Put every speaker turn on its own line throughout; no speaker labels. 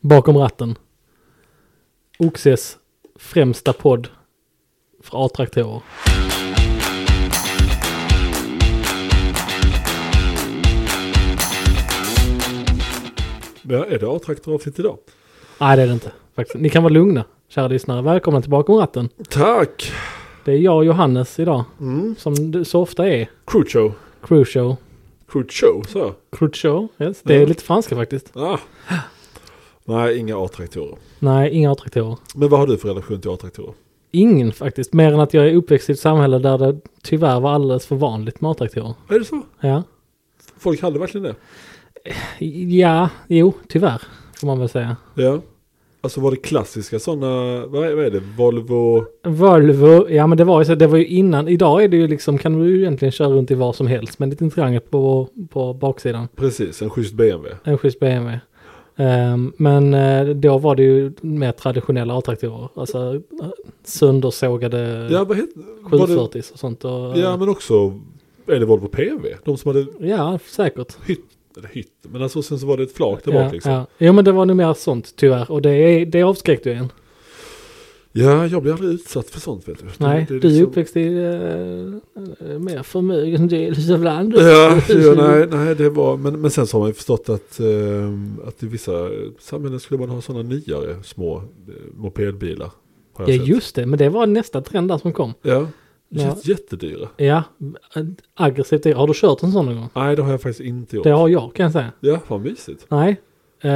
Bakom ratten. Oxes främsta podd för A-traktorer.
Ja, är det A-traktoravsnitt idag?
Nej, det är det inte. Faktiskt. Ni kan vara lugna, kära lyssnare. Välkomna till Bakom ratten.
Tack!
Det är jag och Johannes idag,
Mm.
som det så ofta är.
Crucho.
Crucio.
Crucho, så. jag.
Crucio, yes. Det är
Ja.
lite franska faktiskt.
Ah. Nej, inga A-traktorer.
Nej, inga A-traktorer.
Men vad har du för relation till A-traktorer?
Ingen faktiskt, mer än att jag är uppväxt i ett samhälle där det tyvärr var alldeles för vanligt med A-traktorer.
Är det så?
Ja.
Folk hade verkligen det?
ja, jo, tyvärr får man väl säga.
Ja. Alltså var det klassiska sådana, vad är, vad är det? Volvo?
Volvo, ja men det var ju så, det var ju innan, idag är det ju liksom, kan du ju egentligen köra runt i vad som helst med en liten triangel på, på baksidan.
Precis, en schysst BMW.
En schysst BMW. Ehm, men eh, då var det ju mer traditionella A-traktorer, alltså eh, söndersågade
Ja, vad heter var det?
740 och sånt. Och,
Ja, men också, är det Volvo PV? De som hade
ja, säkert.
hytt, eller hytt, men alltså sen så var det ett flak där
Ja,
bak liksom.
ja. Jo men det var nog mer sånt tyvärr och det, är- det avskräckte ju en.
Ja, jag blir aldrig utsatt för sånt vet du.
Nej,
Det är
du är
liksom-
uppväxt i eh, mer förmögen del av landet.
Ja, ja nej, nej, det var, men, men sen så har man ju förstått att, ehm, att i vissa samhällen skulle man ha sådana nyare små eh, mopedbilar. Har
Ja
jag sett.
just det, men det var nästa trend där som kom.
Ja,
Ja.
det känns Jättedyra.
Ja, aggressivt. Har du kört en sån någon gång?
Nej, det har jag faktiskt inte gjort.
Det har jag kan jag säga.
Ja, vad mysigt.
Nej. Eh,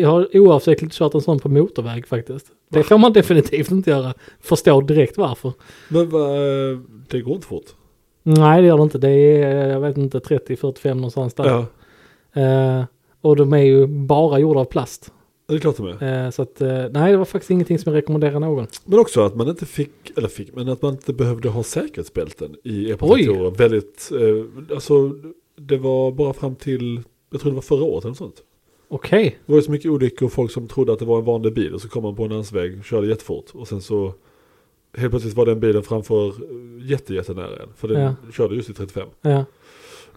jag har oavsiktligt kört en sån på motorväg faktiskt. Det får man definitivt inte göra. Förstår direkt varför.
Men va, det går inte fort.
Nej det gör det inte. Det är, eh, jag vet inte, 30-45 någonstans där.
Ja,
Eh, och de är ju bara gjorda av plast.
det är klart de är.
Eh, så att, eh, nej det var faktiskt ingenting som jag rekommenderar någon.
Men också att man inte fick, eller fick, men att man inte behövde ha säkerhetsbälten i
Oj.
epatraktorer. Väldigt, eh, alltså det var bara fram till, jag tror det var förra året eller något sånt.
Okej.
Det var ju så mycket olyckor och folk som trodde att det var en vanlig bil och så kom man på en landsväg och körde jättefort och sen så helt plötsligt var den bilen framför eh, jätte, jättenära en för den
Ja.
körde just i 35.
Ja.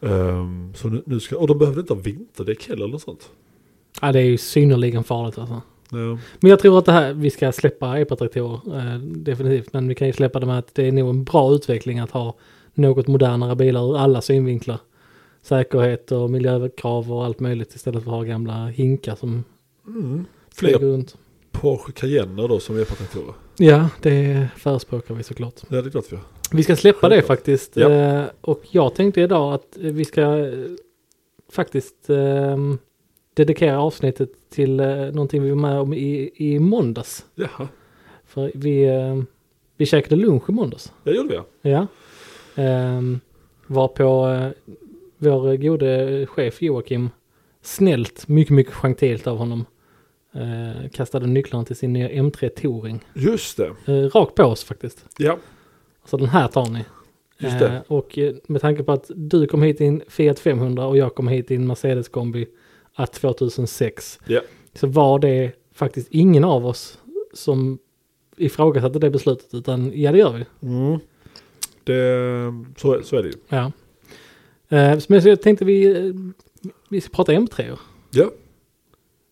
Ehm, så nu, nu ska, och de behövde inte ha vinterdäck heller eller sånt.
ja det är ju synnerligen farligt alltså.
Ja,
Men jag tror att det här, vi ska släppa epatraktorer eh, definitivt, men vi kan ju släppa det med att det är nog en bra utveckling att ha något modernare bilar ur alla synvinklar. Säkerhet och miljökrav och allt möjligt istället för att ha gamla hinkar som flyger
Fler
runt.
Mm. Porsche Cayenner då som är patentatorer.
Ja, det förespråkar vi såklart.
Ja, det är klart vi har.
Vi ska släppa det
Självklart.
faktiskt.
Ja.
eh, Och jag tänkte idag att eh, vi ska eh, faktiskt eh, dedikera avsnittet till eh, någonting vi var med om i, i måndags.
Jaha,
För vi, eh, vi käkade lunch i måndags.
det gjorde vi ja.
Ja. Ehm, var på eh, vår gode chef Joakim snällt, mycket, mycket gentilt av honom. Eh, kastade nycklarna till sin nya M3 Touring.
Just det,
Eh, rakt på oss faktiskt.
ja.
Så den här tar ni.
Just det.
Eh, och eh, med tanke på att du kom hit i en Fiat 500 och jag kom hit i en Mercedes kombi att 2006.
Ja.
Så var det faktiskt ingen av oss som ifrågasatte det beslutet utan ja det gör vi.
Mm. Det, så, så är det ju.
Ja. Eh, men så jag tänkte vi, eh, vi ska prata M3. -or.
Ja,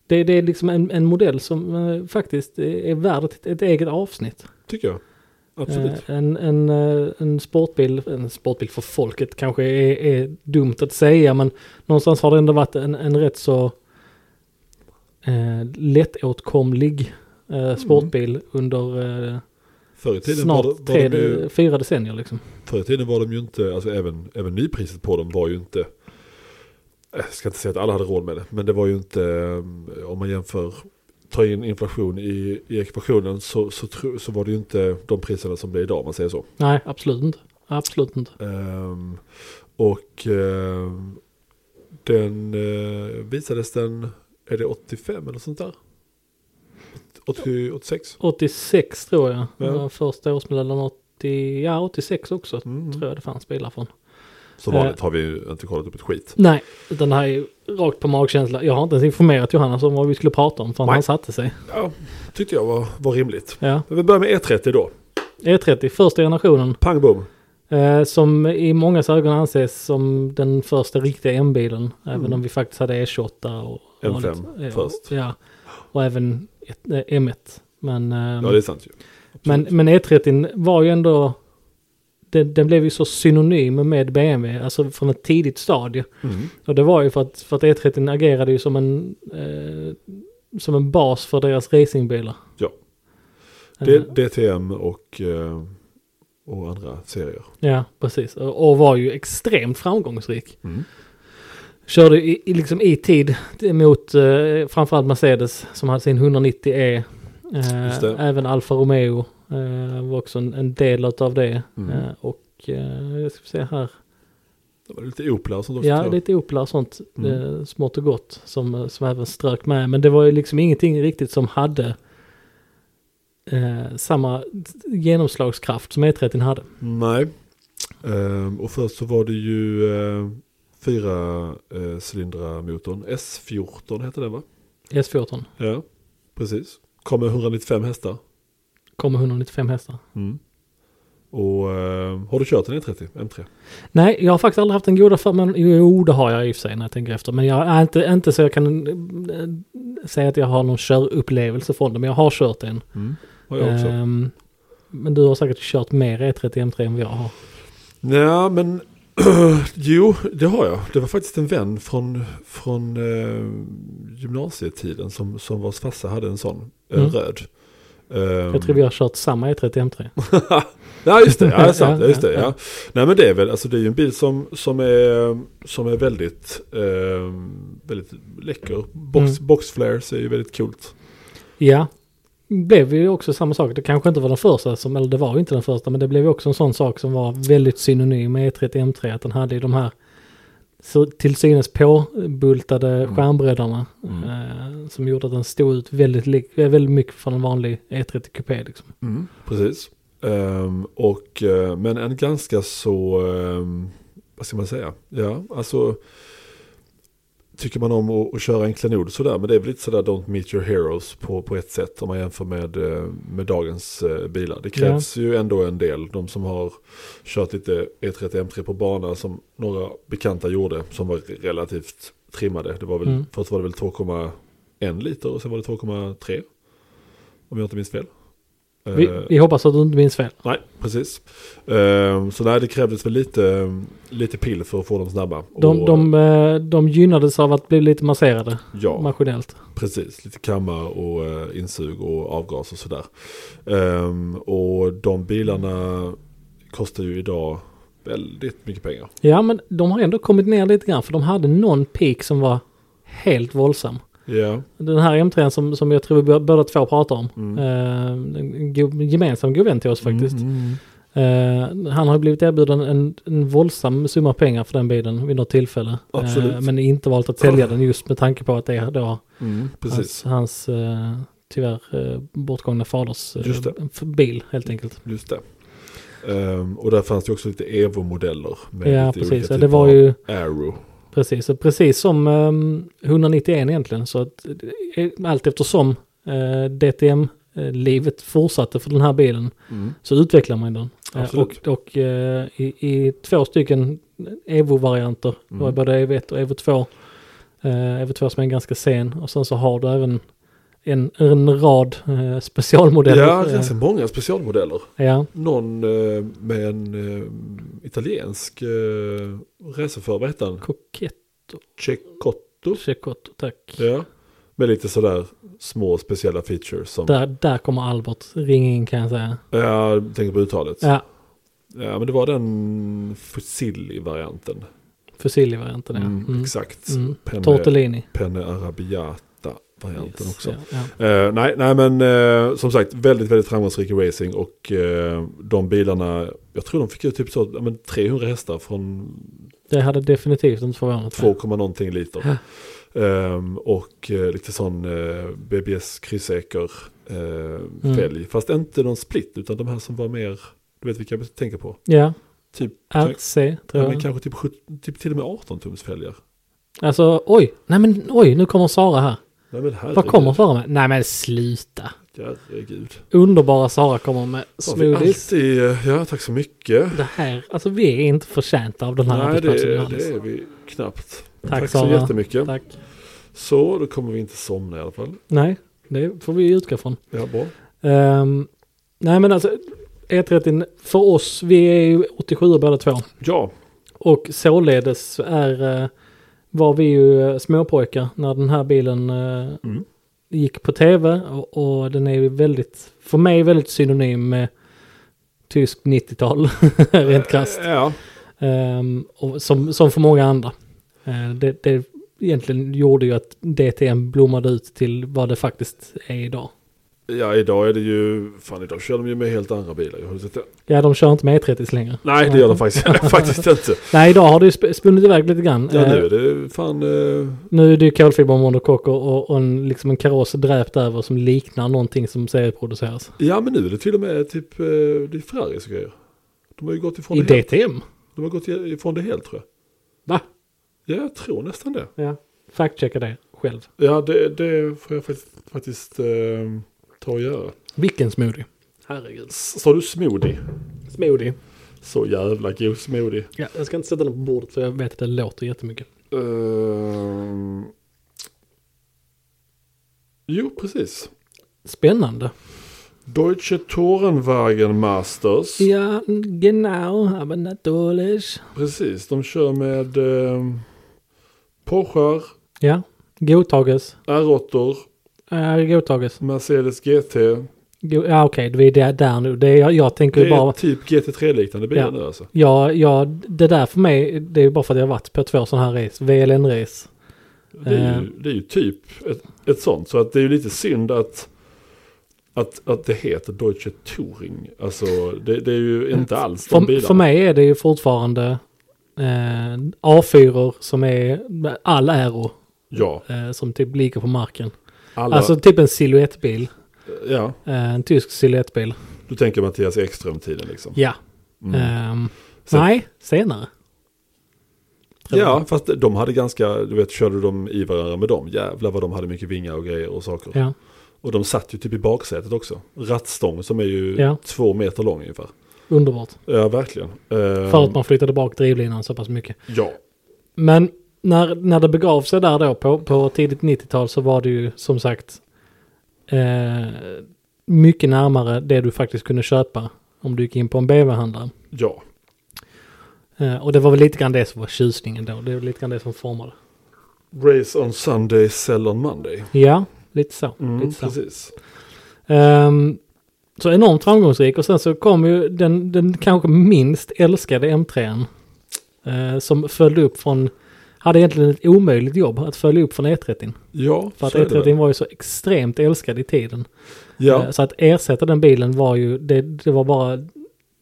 Det, det är liksom en, en modell som eh, faktiskt är värd ett, ett eget avsnitt.
tycker jag. Absolut.
Eh, en, en, eh, en sportbil, en sportbil för folket kanske är, är dumt att säga men någonstans har det ändå varit en, en rätt så eh, lättåtkomlig eh, sportbil under eh,
Förr i Mm. tiden var,
snart
det- var
tre,
de ju...
fyra decennier liksom.
Förr i tiden var de ju inte, alltså även, även nypriset på dem var ju inte, jag ska inte säga att alla hade råd med det, men det var ju inte, eh, om man jämför, tar in inflation i, i ekvationen så, så, tro- så var det ju inte de priserna som det är idag om man säger så.
Nej, absolut inte. Absolut inte.
Ehm, och ehm, den eh, visades den, är det 85 eller sånt där? 80, 86?
86 tror jag.
Ja.
Ja. Första årsmodellen 80, ja 86 också
Mm.
tror jag Eh. det fanns bilar från.
Så vanligt har vi ju inte kollat upp ett skit.
Nej, utan det här är ju rakt på magkänsla. Jag har inte ens informerat Johannes om vad vi skulle prata om förrän
Nej.
han satte sig.
Ja, tyckte jag var, var rimligt.
Ja.
Men vi börjar med E30 E då.
E30, första generationen.
Pang bom.
Eh, som i många ögon anses som den första riktiga M-bilen. Även
Mm.
om vi faktiskt hade E28 och... och
M5
eh,
först.
Ja, och även ett, eh, M1. Men, ehm,
Ja, det är sant ju.
men, men E30 var ju ändå... Den, den blev ju så synonym med BMW, alltså från ett tidigt stadie.
Mm.
Och det var ju för att, för att E30 agerade ju som en, eh, som en bas för deras racingbilar.
Ja.
Eh,
D- DTM och, eh, och andra serier.
Ja, precis. Och, och var ju extremt framgångsrik.
Mm.
Körde i, i, liksom i tid mot eh, framförallt Mercedes som hade sin 190E.
Just
Eh,
det.
även Alfa Romeo eh, var också en, en del av det.
Mm.
Eh, och eh, jag ska se här.
Det var lite Oplar som då
Ja, lite Oplar och sånt
Mm.
eh, smått och gott som, eh, som även strök med. Men det var ju liksom ingenting riktigt som hade eh, samma genomslagskraft som E30 hade.
Nej. Ehm, och först så var det ju eh, fyra eh, cylindrar motorn. S14 hette den va?
S14
Ja, precis. Kom med 195 hästar.
kom med 195 hästar.
Mm. Och eh, har du kört en E30 M3?
Nej, jag har faktiskt aldrig haft en goda för men Jo, det har jag i och för sig när jag tänker efter. Men jag är inte, inte så jag kan eh, säga att jag har någon körupplevelse från det. Men jag har kört en.
Mm. Har jag också.
Ehm, men du har säkert kört mer E E30 M3 än vad jag har.
Nej, men jo, det har jag. Det var faktiskt en vän från, från eh, gymnasietiden som, som vars farsa hade en sån eh,
Mm.
röd. Ehm,
Jag tror vi har kört samma E E30 M3.
Ja just det, ja, det är sant,
Ja,
ja, just det,
ja, ja.
ja. Nej men det är väl, alltså det är ju en bil som, som, är, som är väldigt, eh, väldigt läcker. Box,
Mm.
Boxflares är ju väldigt coolt.
Ja, blev ju också samma sak. Det kanske inte var den första, som, eller det var ju inte den första, men det blev ju också en sån sak som var väldigt synonym med E E30 M3. Att den hade ju de här så till synes påbultade skärmbreddarna.
Mm.
Eh, som gjorde att den stod ut väldigt, lik- eh, väldigt mycket från en vanlig E30 Coupé. Liksom.
Precis. Ehm, och, eh, men en ganska så, ehm, vad ska man säga? Ja, alltså tycker man om att, att köra en klenod sådär, men det är väl lite sådär don't meet your heroes på, på ett sätt om man jämför med, eh, med dagens eh, bilar. Det krävs ju ändå en del, de som har kört lite E E30 M3 på bana som några bekanta gjorde som var relativt trimmade. Det var väl,
Mm.
Först var det väl 2,1 liter och sen var det 2,3 om jag inte minns fel.
Vi,
Eh,
vi hoppas att du inte minns fel.
Nej, precis. Ehm, så nej, det krävdes väl lite, lite pill för att få dem snabba.
De,
Och-
de, eh, de gynnades av att bli lite masserade
ja,
maskinellt.
precis. Lite kammar och eh, insug och avgas och sådär. Ehm, och de bilarna kostar ju idag väldigt mycket pengar.
Ja, men de har ändå kommit ner lite grann för de hade någon peak som var helt våldsam.
Ja,
Den här M3 som, som jag tror vi bör- båda två pratar om.
Mm.
Eh, en go- gemensam god vän till oss faktiskt.
Mm, mm, mm.
Eh, han har blivit erbjuden en, en våldsam summa pengar för den bilen vid något tillfälle.
Absolut.
Eh, men inte valt att sälja den just med tanke på att det är då
Mm,
hans,
precis.
hans eh, tyvärr eh, bortgångna faders eh,
Just det.
f- bil helt enkelt.
Just det. Ehm, och där fanns det också lite Evo-modeller. Med
Ja,
lite olika
precis. Ja,
typer
det var
av
ju
Arrow.
precis, och precis som eh, 191 egentligen. Så att, eh, allt eftersom eh, DTM-livet eh, fortsatte för den här bilen
Mm.
så utvecklar man den. Eh,
Absolut.
Och, och eh, i, i två stycken Evo-varianter,
Mm.
Det var både Evo 1 och Evo 2. Eh, Evo 2 som är ganska sen och sen så har du även en, en rad eh, specialmodeller.
Ja,
Eh,
ganska många specialmodeller.
ja,
någon eh, med en eh, italiensk eh, racerförare, vad hette han?
Cocchetto,
Cecotto?
Checotto, tack.
Ja. Med lite sådär små speciella features som...
Där, där kommer Albert ringa in kan jag säga.
Ja, jag tänker på uttalet. Ja.
Ja,
men det var den Fusilli-varianten.
Fusilli-varianten ja.
Mm,
Mm.
Exakt.
Mm.
Penne,
Tortellini.
Penne Arabiata-varianten
Yes,
också.
Ja, ja.
Eh, nej, nej, men eh, som sagt väldigt, väldigt framgångsrik i racing och eh, de bilarna, jag tror de fick ut typ så, ja, men 300 hästar från
Det hade definitivt inte förvånat mig.
2, någonting liter.
Ja.
Ehm, och eh, lite sån eh, BBS kryssäker eh,
Mm.
fälg. Fast inte någon split utan de här som var mer, du vet vilka jag tänker på.
Ja,
Typ,
RC tror
ja, men
jag.
kanske typ, sjut- typ till och med 18 tums fälgar.
Alltså oj, nej men oj, nu kommer Sara här.
Nej men herregud.
Vad kommer före mig? Nej men sluta.
Herregud.
Underbara Sara kommer med
Har vi
smoothies.
alltid, eh, ja tack så mycket.
Det här, alltså vi är inte förtjänta av den här
Nej,
arbetsplatsen,
det,
Johannes.
det är vi knappt.
Tack,
så
Sara.
jättemycket.
Tack.
Så, då kommer vi inte somna i alla fall.
Nej, det får vi utgå från.
Ja, bra.
Ehm, nej men alltså E30 för oss, vi är ju 87 båda två.
Ja,
Och således så är, eh, var vi ju eh, småpojkar när den här bilen eh,
Mm.
gick på tv. Och, och den är ju väldigt, för mig väldigt synonym med tysk 90-tal, rent krasst.
Eh, ja.
Ehm, och som, som för många andra. Eh, det, det egentligen gjorde ju att DTM blommade ut till vad det faktiskt är idag.
ja, idag är det ju, fan idag kör de ju med helt andra bilar. Har du sett det?
Ja, de kör inte med E30 längre.
Nej, det gör de faktiskt, faktiskt inte.
Nej, idag har det ju sp- spunnit iväg lite grann.
Ja, nu
Eh,
är det fan, eh,
nu är det ju kolfibermonokock och, och, och en, liksom en kaross dräpt över som liknar någonting som serieproduceras.
ja men nu är det till och med typ, eh, det är Ferraris och grejer. De har ju gått ifrån
I
det helt.
DTM?
De har gått ifrån det helt tror jag.
Va?
Ja, jag tror nästan det.
Ja. Faktchecka det själv.
Ja, det, det får jag faktiskt, faktiskt eh, ta och göra.
Vilken smoothie. Herregud.
S- Sa du smoothie?
Smoothie.
Så jävla god smoothie.
Ja, jag ska inte sätta den på bordet för jag vet att det låter jättemycket.
Ehm. jo, precis.
Spännande.
Deutsche Torenwagen Masters.
Ja, genau, aber natürlich.
Precis, de kör med eh, Porschar,
Ja, godtages.
R8,
Ja, godtages.
Mercedes GT.
Go- ja, okej, vi är där, där nu. Det är, jag, jag tänker
Det
ju
är
bara...
typ GT3-liknande bilar
Ja.
nu alltså.
Ja, ja, det där för mig, det är ju bara för att jag har varit på två sådana här race, VLN-race.
Det är,
Eh.
ju, det är ju typ ett, ett sånt. Så att det är ju lite synd att, att, att det heter Deutsche Touring. Alltså det, det är ju inte alls de
Mm. För,
bilarna.
för mig är det ju fortfarande eh, A4 som är all aero
Ja,
eh, som typ ligger på marken.
alla.
Alltså typ en silhuettbil,
ja,
eh, en tysk silhuettbil.
du tänker Mattias Ekström-tiden liksom.
Ja.
Mm.
Ehm,
Så-
nej, senare.
Ja, fast de hade ganska, du vet, körde de i varandra med dem. Jävlar vad de hade mycket vingar och grejer och saker.
Ja.
Och de satt ju typ i baksätet också. Rattstång som är ju
Ja.
två meter lång ungefär.
Underbart.
Ja, verkligen. Ehm,
För att man flyttade bak drivlinan så pass mycket.
Ja,
Men när, när det begav sig där då på, på tidigt 90-tal så var det ju som sagt eh, mycket närmare det du faktiskt kunde köpa om du gick in på en BMW-handlare.
ja.
Eh, och det var väl lite grann det som var tjusningen då. Det var lite grann det som formade.
Race on Sunday, sell on Monday.
Ja, lite så.
Mm,
lite så.
precis.
Ehm, så enormt framgångsrik och sen så kom ju den, den kanske minst älskade M3. Eh, som följde upp från, hade egentligen ett omöjligt jobb att följa upp från E30.
Ja,
För att
så är det väl.
E30 var ju så extremt älskad i tiden.
Ja,
Eh, Så att ersätta den bilen var ju, det, det var bara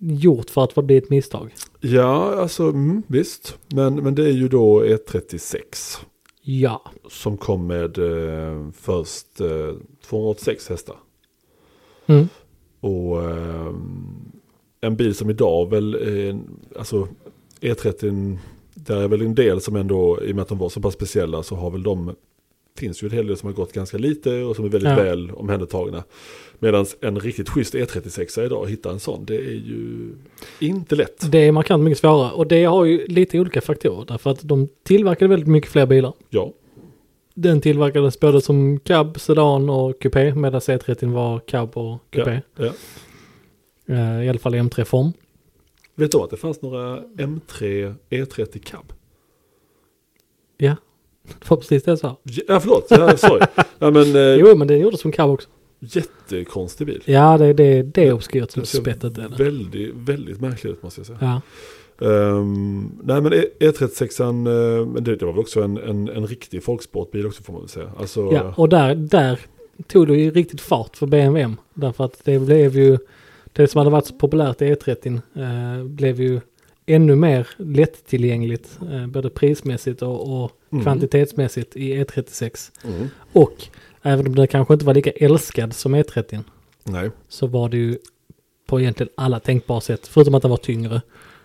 gjort för att bli ett misstag.
ja alltså mm, visst. Men, men det är ju då E36
Ja,
som kom med eh, först eh, 286 hästar.
mm.
Och ehm, en bil som idag väl, eh, alltså E30, där är väl en del som ändå, i och med att de var så pass speciella så har väl de, finns ju en hel del som har gått ganska lite och som är väldigt
Ja.
väl omhändertagna. Medan en riktigt schysst E36 idag, att hitta en sån, det är ju inte lätt.
det är markant mycket svårare. Och det har ju lite olika faktorer. Därför att de tillverkade väldigt mycket fler bilar.
Ja,
Den tillverkades både som cab, sedan och coupé. Medan C30 var cab och
ja,
coupé.
ja.
Eh, I alla fall i M3-form.
Vet du om att det fanns några M3 E30 cab?
Ja, det var precis det jag sa.
Ja, förlåt, ja, sorry. ja, men, eh,
Jo, men den gjordes som cab också.
jättekonstig bil.
Ja, det, det, det är obskyrt som
Den ser
spettet. är det.
Väldigt, väldigt märklig ut måste jag säga.
Ja.
Ehm, nej men E- E36, an, eh, men det, det var väl också en, en, en riktig folksportbil också får man väl säga. Alltså,
Ja, och där, där tog det ju riktigt fart för BMW. Därför att det blev ju, det som hade varit så populärt i E30 eh, blev ju ännu mer lättillgängligt, eh, både prismässigt och, och
Mm.
kvantitetsmässigt i E36.
mm,
Och även om den kanske inte var lika älskad som E30
nej,
så var det ju på egentligen alla tänkbara sätt, förutom att den var tyngre,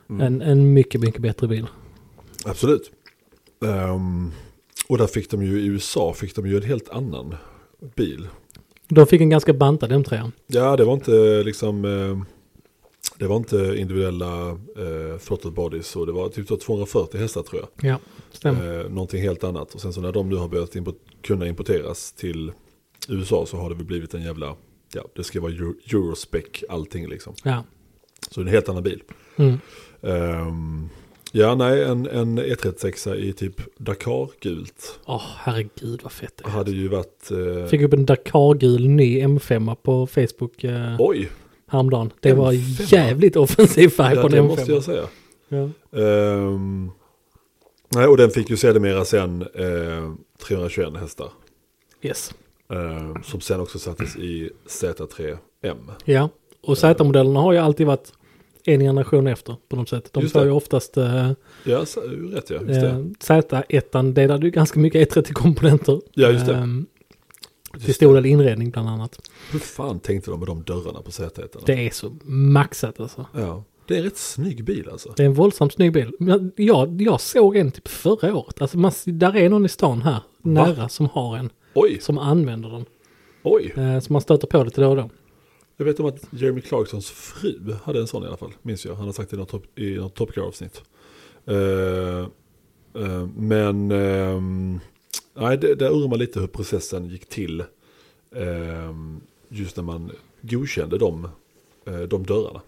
Mm.
en, en mycket, mycket bättre bil.
absolut. Ehm, och där fick de ju i USA fick de ju en helt annan bil.
De fick en ganska bantad M3.
Ja, det var inte liksom... eh, Det var inte individuella eh, throttle bodies och det var typ så 240 hästar tror jag.
Ja, stämmer.
Eh, någonting helt annat. Och sen så när de nu har börjat impo- kunna importeras till USA så har det väl blivit en jävla... Ja, det ska vara Euro- Eurospec allting liksom.
Ja.
Så det är en helt annan bil.
Mm.
Ehm, ja, nej, en, en E36 i typ Dakar-gult
Åh, herregud vad fett det är.
hade ju varit... Eh,
Fick upp en Dakar-gul ny M5 på Facebook eh,
Oj,
häromdagen. Det var
M5?
jävligt offensiv färg
ja,
på
det
en
måste
M5.
jag säga.
Ja.
Ehm, nej, och den fick ju sedermera sen eh, 321 hästar.
Yes.
Ehm, som sen också sattes i Z3M.
Ja, och Z-modellerna har ju alltid varit en generation efter på något sätt. De
Just
sa
det.
ju oftast eh,
Ja, så, ju rätt ja. Just
eh,
det.
Z1 delade ju ganska mycket E30-komponenter.
Ja, just det.
Ehm, till
Just
stor
det.
del inredning bland annat.
Hur fan tänkte de med de dörrarna på Z1?
Det är så maxat alltså.
Ja, det är en rätt snygg bil alltså.
Det är en våldsamt snygg bil. Men Jag, jag såg en typ förra året. Alltså man, där är någon i stan här, nära, som har en.
Oj,
Som använder den.
oj.
Eh, så man stöter på det till då och då.
Jag vet om att Jeremy Clarksons fru hade en sån i alla fall, minns jag. Han har sagt det i något, top, i något Top Gear-avsnitt. Eh, eh, men ehm, nej, det, där undrar man lite hur processen gick till. ehm, just när man godkände de, eh, de dörrarna.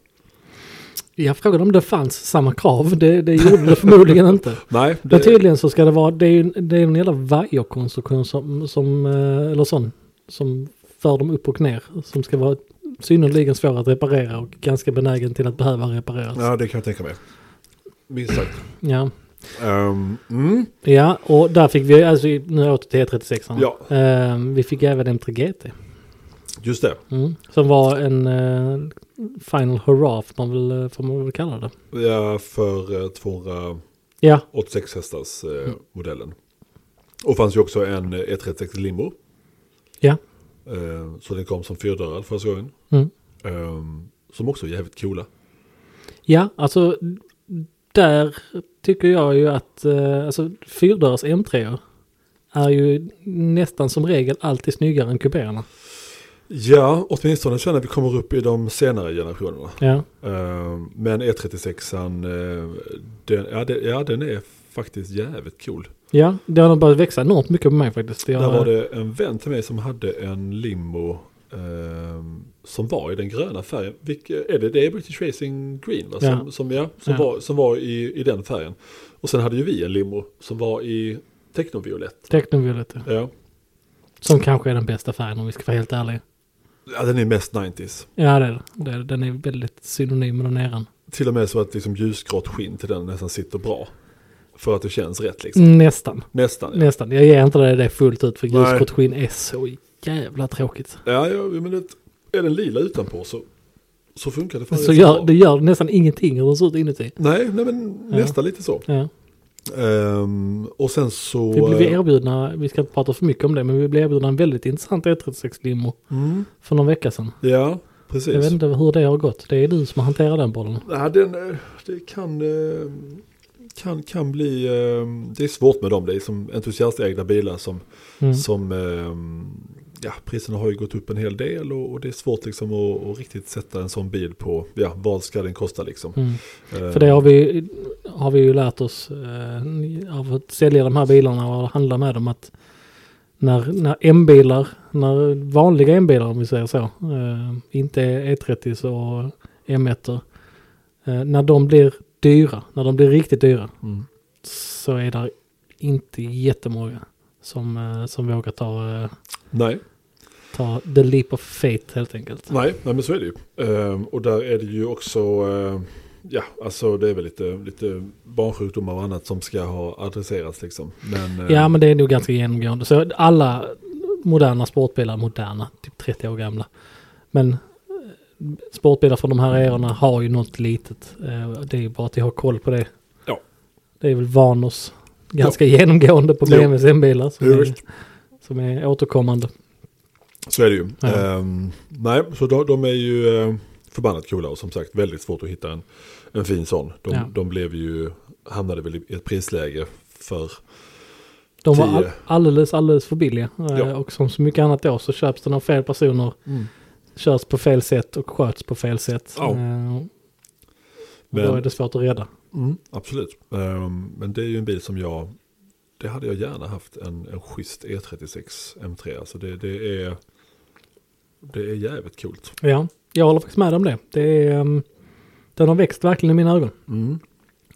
Jag frågade om det fanns samma krav. Det, det gjorde det förmodligen inte.
Nej,
Det...
det,
Men tydligen så ska det vara, det är ju det är en jävla vajerkonstruktion som, som, eh, eller sån, som för dem upp och ner. Som ska vara synnerligen svår att reparera och ganska benägen till att behöva repareras. Ja.
ja, det kan jag tänka mig. Minst sagt.
Ja.
Ehm, mm,
och där fick vi, alltså nu åter till E36.
Ja.
Eh, vi fick även M3 GT.
just det.
Mm. Som var en eh, final hurra, får man, väl, eh, får man väl kalla det.
Ja, för eh, 200...
Ja,
86 hästars eh,
Mm.
modellen. Och fanns ju också en eh, E36 Limo.
ja.
Eh, så den kom som fyrdörrad första gången.
Mm.
Ehm, som också är jävligt coola.
Ja, alltså där tycker jag ju att eh, alltså, fyrdörrars M3 är ju nästan som regel alltid snyggare än kupéerna.
Ja, åtminstone känner vi kommer upp i de senare generationerna.
Ja,
Ehm, men E36 an, eh, den, ja, det, ja, den är faktiskt jävligt cool.
ja det har nog börjat växa enormt mycket på mig faktiskt. Jag,
Där var det en vän till mig som hade en limo ehm, som var i den gröna färgen. Vilke, är det, det är British Racing Green va? Som,
Ja.
som, ja, som,
Ja.
Var, som var i, i den färgen. Och sen hade ju vi en limo som var i technoviolett.
Technoviolett, ja.
Ja.
eh, som kanske är den bästa färgen om vi ska vara helt ärliga.
ja, den är mest 90s.
Ja, det är det. det. är det. Den är väldigt synonym med den eran.
Till och med så att liksom ljusgrått skinn till den nästan sitter bra. För att det känns rätt liksom.
Nästan,
Nästan. Ja,
nästan. Jag ger inte dig det fullt ut för
Nej.
ljusgrått skinn är så jävla tråkigt.
ja, ja men det, är den lila utanpå så, så funkar det fan
Så
rätt
gör,
bra.
det gör nästan ingenting hur den ser ut inuti.
Nej, nej, men
Ja.
nästan lite så.
Ja.
Ehm, och eh, sen så...
Vi blev erbjudna, vi ska inte prata för mycket om det, men vi blev erbjudna en väldigt intressant E36-limo
Mm,
för någon vecka sedan.
ja,
Jag vet
precis.
inte hur det har gått. Det är du som hanterar den bollen.
Ja, den, eh, det kan, eh, kan, kan bli... eh, Det är svårt med dem, det är som entusiastägda bilar som...
Mm.
som eh, ja, priserna har ju gått upp en hel del och, och det är svårt liksom att, att riktigt sätta en sån bil på... Ja, vad ska den kosta liksom?
Mm.
Eh,
För det har vi, har vi ju lärt oss eh, av att sälja de här bilarna och handla med dem att när, när M-bilar, när vanliga M-bilar om vi säger så, eh, inte E30 och M1, eh, när de blir dyra, när de blir riktigt dyra,
Mm.
så är det inte jättemånga som, eh, som vågar ta, eh,
Nej,
ta the leap of faith helt enkelt.
nej, nej, men så är det ju. Eh, och där är det ju också... eh, Ja, alltså det är väl lite, lite barnsjukdomar och annat som ska ha adresserats liksom. Men, eh,
Ja men det är nog ganska genomgående. Så alla moderna sportbilar, moderna, typ 30 år gamla. Men eh, sportbilar från de här erorna har ju något litet. Eh, Det är ju bara att jag har koll på det.
Ja.
Det är väl Vanos ganska genomgående på
Jo.
BMWs M-bilar som,
Jo,
är-
visst.
som är återkommande.
Så är det ju.
Ja.
Ehm, nej, så de, de är ju eh, förbannat coola och som sagt väldigt svårt att hitta en, en fin sån. De,
Ja.
de blev ju, hamnade väl i ett prisläge för
De var all,
Tio.
alldeles, alldeles för billiga. Eh,
Ja.
Och som så mycket annat då så köps den av fel personer,
Mm.
körs på fel sätt och sköts på fel sätt.
Ja.
Eh, och Då
Men-
är det svårt att rädda.
Mm, absolut. Ehm, men det är ju en bil som jag, det hade jag gärna haft en, en schysst E E36 M3. Alltså det, det är, det är jävligt coolt.
Ja, jag håller faktiskt med om det. det är, ehm, den har växt verkligen i mina ögon.
Mm.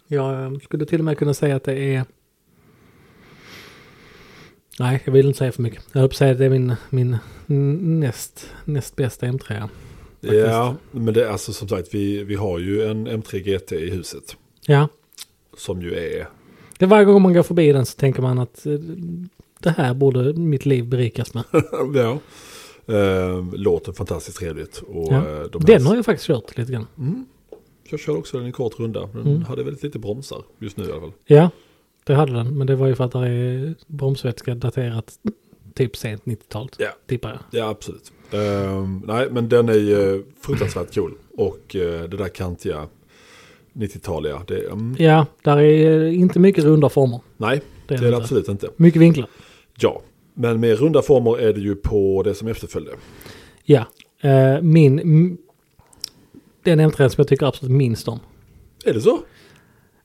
Jag ehm, skulle till och med kunna säga att det är... Nej, jag vill inte säga för mycket. Jag höll på att säga att det är min, min n- näst, näst bästa M3. Faktiskt.
Ja, men det är alltså som sagt, vi, vi har ju en M3 GT i huset.
Ja,
Som ju är,
det varje gång man går förbi den så tänker man att eh, det här borde mitt liv berikas med.
ja, ehm, låter fantastiskt trevligt. Och,
Ja.
eh, de
Den har jag faktiskt kört lite grann.
mm, jag kör också den en kort runda. Den
Mm.
hade väldigt lite bromsar just nu i alla fall.
Ja, det hade den. Men det var ju för att det är bromsvätska daterat typ sent 90-talet.
Ja.
Tippar jag.
Ja, absolut. Ehm, nej, men den är ju fruktansvärt cool. Och eh, det där kantiga 90-taliga, det, mm,
Ja, där är eh, inte mycket runda former.
nej,
Det är
det är det
inte.
absolut inte.
Mycket vinklar.
Ja, men med runda former är det ju på det som efterföljde.
Ja, eh, min... m- Den M3 som jag tycker absolut minst om.
Är det så?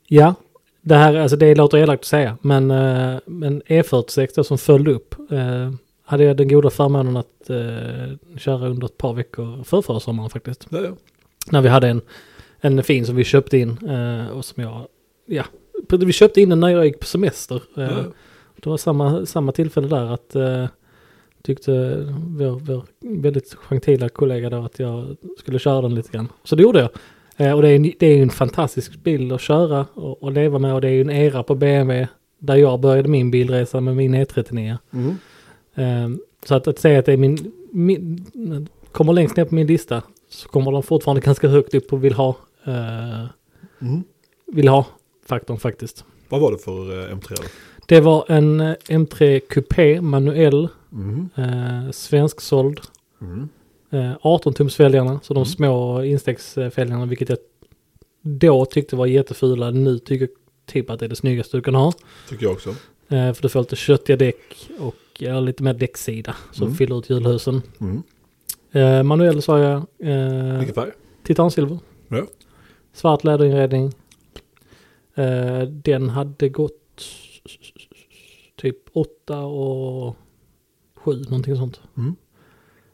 Ja, det här alltså det låter elakt att säga, men, eh, men E46 då som följde upp eh, hade jag den goda förmånen att eh, köra under ett par veckor för förra sommaren faktiskt.
Ja, ja.
När vi hade en, en fin som vi köpte in eh, och som jag, ja, vi köpte in den när jag gick på semester. Eh,
Ja.
Det var samma, samma tillfälle där att eh, tyckte vår, vår väldigt gentila kollega då att jag skulle köra den lite grann. Så det gjorde jag. Eh, och det är, en, det är ju en fantastisk bil att köra och, och leva med och det är ju en era på BMW där jag började min bilresa med min E E39.
Mm.
Eh, så att, att säga att det är min, min, kommer längst ner på min lista så kommer de fortfarande ganska högt upp på vill ha, eh,
Mm.
vill ha-faktorn faktiskt.
Vad var det för eh, M3?
Det var en eh, M3 Coupé manuell,
Mm.
eh, svensksåld,
Mm.
eh, 18-tumsfälgarna, så de
Mm.
små instegsfälgarna, vilket jag då tyckte var jättefula, nu tycker jag typ att det är det snyggaste du kan ha.
Tycker jag också.
Eh, för du får lite köttiga däck och ja, lite mer däcksida som
Mm.
fyller ut hjulhusen.
Mm.
Eh, manuell sa jag, eh,
Vilken färg?
titansilver.
Ja.
Svart läderinredning. Eh, den hade gått typ 8 och 7, någonting sånt.
Mm.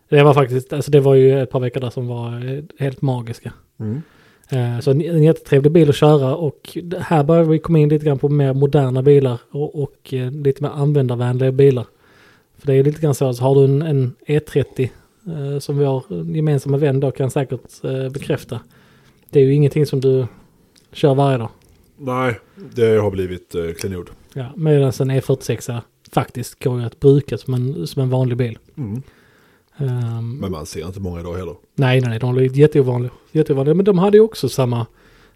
Det var faktiskt, alltså det var ju ett par veckor där som var eh, helt magiska.
Mm.
Eh, Så en, en jättetrevlig bil att köra och det- här börjar vi komma in lite grann på mer moderna bilar och, och eh, lite mer användarvänliga bilar. För det är lite grann så, alltså, har du en, en E30 eh, som vår gemensamma vän då kan säkert eh, bekräfta. Det är ju ingenting som du kör varje dag.
Nej, det har blivit eh, klenod.
Ja, Medan en E46 faktiskt går ju att bruka som en, som en vanlig bil.
Mm.
Ehm,
Men man ser inte många idag heller.
Nej, nej, nej, de är jätteovanliga. jätteovanliga. Men de hade ju också samma,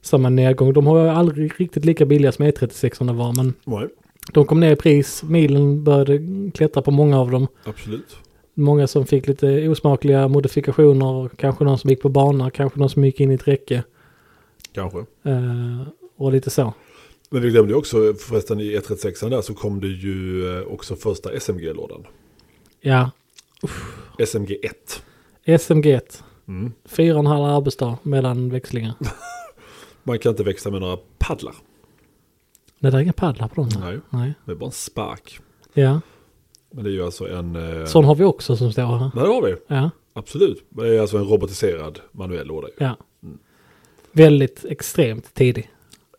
samma nedgång. De har ju aldrig riktigt lika billiga som E36 var, men
Nej,
de kom ner i pris. Milen började klättra på många av dem.
absolut.
Många som fick lite osmakliga modifikationer, och kanske någon som gick på bana, kanske någon som gick in i ett räcke
Kanske.
eh, och lite så.
Men vi glömde ju också förresten i E36 där så kom det ju eh, också första SMG-lådan.
Ja,
SMG 1.
SMG 1,
Mm.
fyra och en halv arbetsdag mellan växlingar.
Man kan inte växla med några paddlar.
Nej, det är inga paddlar på dem.
Nej.
nej.
Det är bara en spark.
Ja,
Men det är ju alltså en... Eh...
sån har vi också som står här.
Nej, det har vi.
Ja.
Absolut. Men det är alltså en robotiserad manuell låda. Ju.
Ja. Väldigt extremt tidig.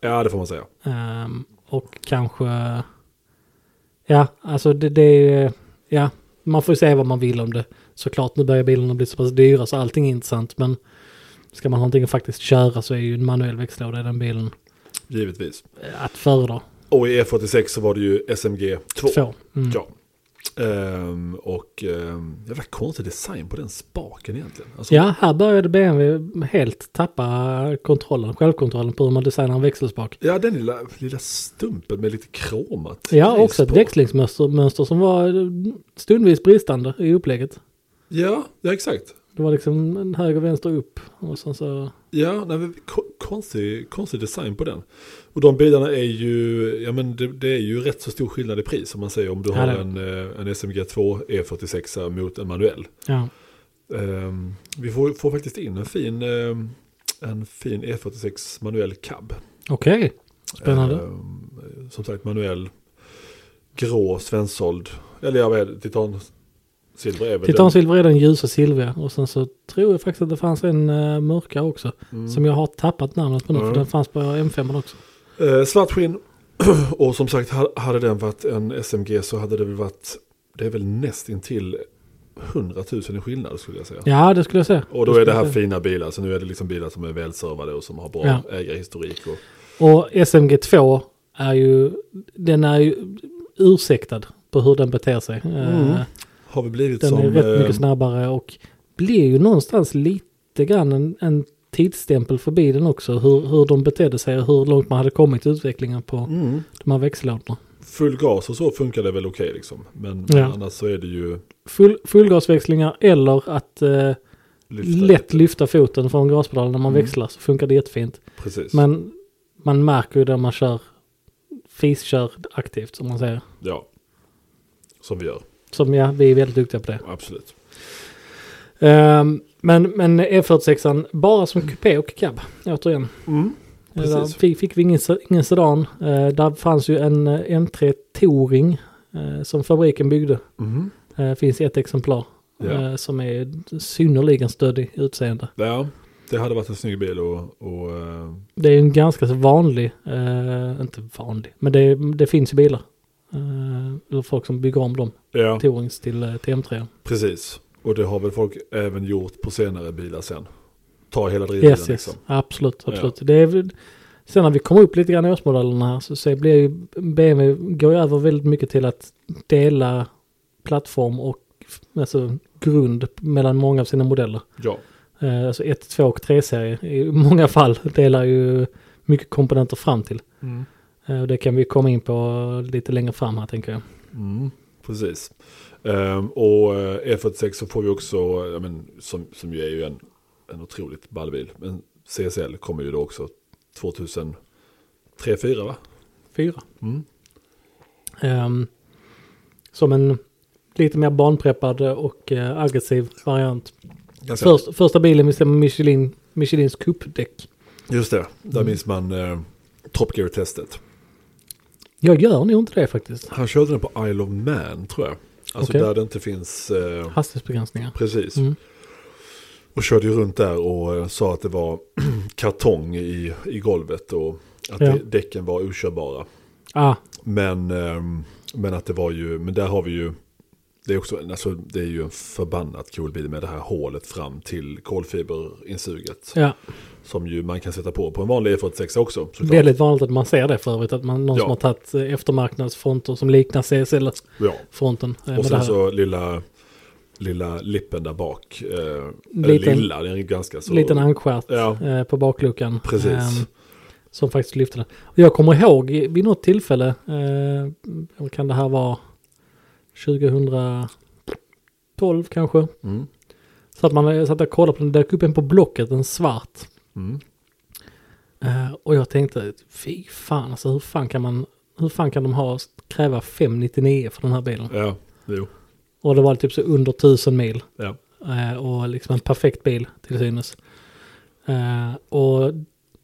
Ja, det får man säga.
Ehm, och kanske... Ja, alltså det, det är... Ja, man får ju säga vad man vill om det. Såklart, nu börjar bilarna bli så pass dyra så allting är intressant. Men ska man ha någonting att faktiskt köra så är ju en manuell växellåda i den bilen
Givetvis.
eh, att föredra.
Och i E46 så var det ju SMG 2.
Två. Mm.
Ja. Ehm, och ehm, jävla konstig design på den spaken egentligen. Alltså,
Ja, här började BMW helt tappa kontrollen, självkontrollen på hur man designar en växelspak.
ja, den lilla, lilla stumpen med lite kromat.
Ja, också ett
på.
växlingsmönster mönster som var eh, stundvis bristande i upplägget.
Ja, ja exakt.
Det var liksom en höger, vänster, upp och sen så...
Ja, nej, men ko- konstig, konstig design på den. Och de bilarna är ju, ja men det, det är ju rätt så stor skillnad i pris om man säger om du
Ja,
har
det-
en, eh, en SMG 2 E46 E mot en manuell.
Ja.
Ehm, vi får, får faktiskt in en fin, ehm, en fin E46 manuell cab.
Okej. Spännande.
Ehm, som sagt manuell, grå, svensåld. Eller jag vet, titan, silver är väl
Titan
den.
silver är den ljusa silvriga och sen så tror jag faktiskt att det fanns en eh, mörka också.
Mm.
Som jag har tappat namnet på nu
Mm.
för den fanns på M5 också.
Eh, svart skinn. Och som sagt, ha- hade den varit en SMG så hade det väl varit, det är väl nästintill 100 000 i skillnad skulle jag säga.
Ja det skulle jag säga.
Och då är det
skulle
här
jag säga.
fina bilar, så nu är det liksom bilar som är välservade och som har bra
Ja.
ägarhistorik. Och,
Och SMG2 är ju, den är ju ursäktad på hur den beter sig. Eh,
Mm. har vi blivit
Den
som...
är rätt mycket
eh,
snabbare och blir ju någonstans lite grann en, en tidsstämpel för bilen också. Hur, hur de betedde sig och hur långt man hade kommit i utvecklingen på
mm,
de här växellådorna.
full gas och så funkar det väl okej liksom. Men,
Ja.
men annars så är det ju...
Full, fullgasväxlingar eller att eh,
lyfta
lätt
lite.
lyfta foten från gaspedalen när man
Mm.
växlar så funkar det jättefint.
Precis.
Men man märker ju när man kör fiskör aktivt som man säger.
Ja. Som vi gör,
Som ja, vi är väldigt duktiga på det.
absolut.
Ehm, men, men E46 an bara som kupé och cab återigen.
Mm.
Eh,
Precis.
där Fick, fick vi ingen, se- ingen sedan. Eh, där fanns ju en eh, M3 Touring eh, som fabriken byggde.
Mm.
Eh, finns ett exemplar
Ja.
eh, som är synnerligen stöddig i utseende.
ja, det hade varit en snygg bil och... och eh,
Det är en ganska så vanlig, eh, inte vanlig, men det, det finns ju bilar. Eh, eller folk som bygger om dem,
ja.
Tourings till, eh, till M3.
Precis, och det har väl folk även gjort på senare bilar sen. Ta hela drivbilen
Yes,
liksom.
yes. Absolut, absolut. Det är, väl- sen när vi kommer upp lite grann i årsmodellerna här så, så blir ju BMW går ju över väldigt mycket till att dela plattform och f- alltså, grund mellan många av sina modeller.
Ja,
Eh, alltså 1, 2 och 3-serier i många fall delar ju mycket komponenter fram till.
Mm.
Eh, och det kan vi komma in på lite längre fram här tänker jag.
mm, precis. Ehm, och eh, E46 så får vi också, eh, ja, men, som, som ju är ju en, en otroligt ball bil. Men CSL kommer ju då också 2003 4 va?
Fyra.
Mm.
Ehm, som en lite mer barnpreppad och eh, aggressiv variant.
Ganska-
Först, första bilen visste med Michelin, Michelins kuppdäck.
Just det, där
Mm.
minns man eh, Top Gear-testet.
Jag gör nog inte det faktiskt.
Han körde den på Isle of Man tror jag. Alltså
Okej.
där det inte finns... Eh,
Hastighetsbegränsningar.
Precis.
Mm.
Och körde ju runt där och eh, sa att det var kartong i, i golvet och att
Ja.
det, däcken var okörbara.
Ah,
Men, ehm, men att det var ju, men där har vi ju, det är, också, en- alltså, det är ju en förbannat cool bil med det här hålet fram till kolfiberinsuget.
ja.
Som ju man kan sätta på på en vanlig E46 också. såklart.
Väldigt vanligt att man ser det för övrigt. Att man, någon
Ja.
som har tagit eh, eftermarknadsfronter som liknar CSL-fronten.
Ja.
eh,
Och
med det
sen
här.
så lilla, lilla lippen där bak. Eh, eller
Liten-
lilla, den är ganska så.
Liten ankstjärt
Ja.
eh, på bakluckan.
Precis.
ehm, som faktiskt lyfte den. Och jag kommer ihåg i- vid något tillfälle, eh, eller kan det här vara 2012 kanske?
Mm.
Så att man satt och kollade på den, dök upp en på Blocket, en svart.
Mm.
Eh, och jag tänkte, fy fan, alltså hur fan kan man, hur fan kan de ha kräva 599 för den här bilen?
Ja, jo.
Och det var typ så under 1000 mil
Ja.
eh, och liksom en perfekt bil till synes. Eh, och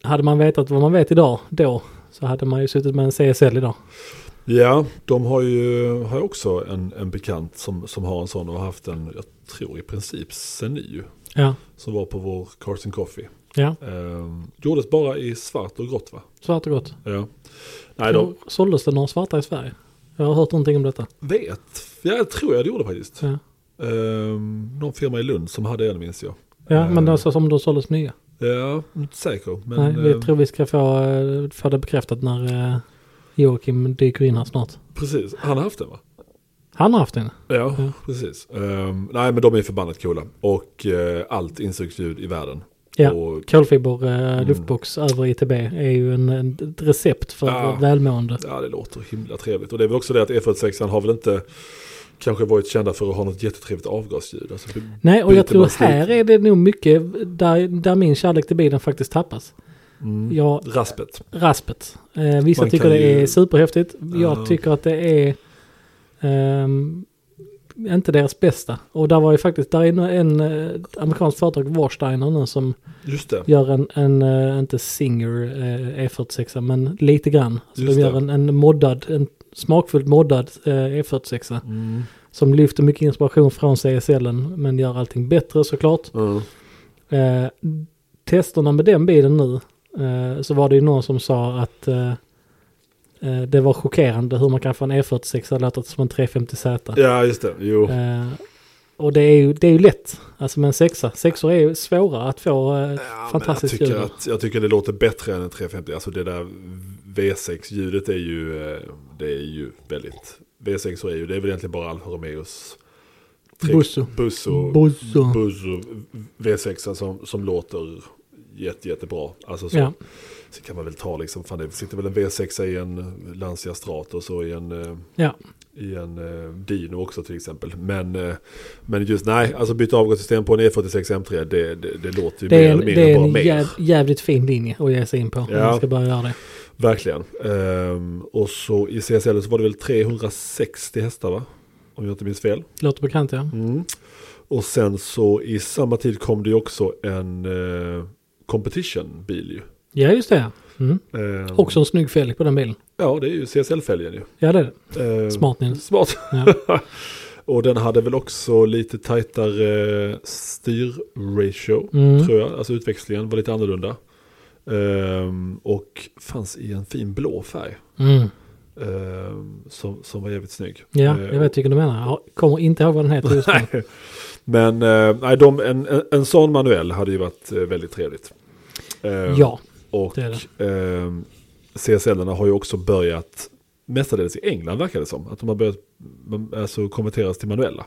hade man vetat vad man vet idag då så hade man ju suttit med en CSL idag.
Ja, de har ju har ju också en, en bekant som, som har en sån och har haft en, jag tror i princip sen ny,
Ja,
som var på vår Cars and Coffee.
ja.
Ehm, gjordes bara i svart och grått va?
svart och gott.
Ja. Nej, de
Såldes det några svarta i Sverige? Jag har hört någonting om detta.
vet. Ja, jag tror jag det gjorde faktiskt.
Ja,
Ehm, någon firma i Lund som hade en minns jag.
ja
Eh,
men alltså som de såldes nya.
Ja, inte säker. Men,
Nej, vi
ehm,
tror vi ska få, eh, få det bekräftat när eh, Joakim dyker in här snart.
Precis, han har haft den va?
Han har haft en.
Ja,
Ja.
precis. Ehm, nej, men de är förbannat coola. Och eh, allt insugsljud i världen.
Ja.
Och
Kolfiber
Mm.
eh, luftbox över ITB är ju en, en, ett recept för
Ja.
välmående.
E Ja, det låter himla trevligt. Och det är väl också det att E46 har väl inte... kanske varit kända för att ha något jättetrevligt avgasljud. Alltså, b-
Nej, och
byter
jag tror
man stuk-
här är det nog mycket där, där min kärlek till bilen faktiskt tappas.
Mm.
Jag,
Raspet.
raspet. Eh, vissa
Man
tycker
kan
det
ju-
är superhäftigt.
Ja.
Jag tycker att det är ehm, inte deras bästa. Och där var ju faktiskt, där är nu en eh, amerikanskt företag, Warsteiner nu, som
Just det.
gör en, en eh, inte Singer eh, E46, men lite grann. Så
Just
de gör
det.
en, en moddad, en smakfullt moddad eh, E46.
Mm.
Som lyfter mycket inspiration från CSL-en, men gör allting bättre såklart.
Mm.
Eh, testerna med den bilen nu eh, så var det ju någon som sa att eh, eh, det var chockerande hur man kan få en E46 att låta som en 350Z.
Ja, just det. Jo.
Eh, och det är, ju, det är ju lätt, alltså med en sexa. Sexor är ju svårare att få eh,
Ja, men jag,
fantastiskt ljud.
tycker att, jag tycker det låter bättre än en 350. Alltså det där V6-ljudet är ju, eh, det är ju väldigt... V6 är ju, det är väl egentligen bara Alfa Romeos... tre-
Busso.
Busso.
Buzzo.
Busso V6 som, som låter jätte, jättebra. Alltså så,
Ja,
så kan man väl ta liksom, fan det sitter väl en V6 i en eh, Lancia Stratos och så i en... eh,
ja.
i en eh, Dino också till exempel. Men, eh, men just nej, alltså byta avgassystem på en E46 M3, det, det, det låter ju
Det
mer
är,
eller
en-
mindre
det är
bara
en
mer.
jäv, jävligt fin linje att ge sig in på
Ja.
om man ska börja göra det.
Verkligen. Ehm, och så i CSL så var det väl 360 hästar va? Om jag inte minns fel.
Låter bekant ja.
Och sen så i samma tid kom det ju också en eh, competition-bil ju.
Ja just det. ja. Mm.
Ehm,
Också en snygg fälg på den bilen.
Ja, det är ju CSL-fälgen ju.
Ja det är det.
Ehm,
Smart Nils.
Smart.
Ja.
Och den hade väl också lite tajtare styrratio.
Mm.
tror jag. Alltså utväxlingen var lite annorlunda. Ehm, och fanns i en fin blå färg.
Mm.
ehm, som, som var jävligt snygg.
Ja,
Ehm,
jag vet vilken du menar. Jag kommer inte ihåg vad den heter just nu.
Men eh, nej, de, en, en, en sån manuell hade ju varit eh, väldigt trevligt. Ehm,
Ja,
och
det är
ehm, CSL-erna har ju också börjat, mestadels i England verkar det som, att de har börjat man- alltså, konverteras till manuella.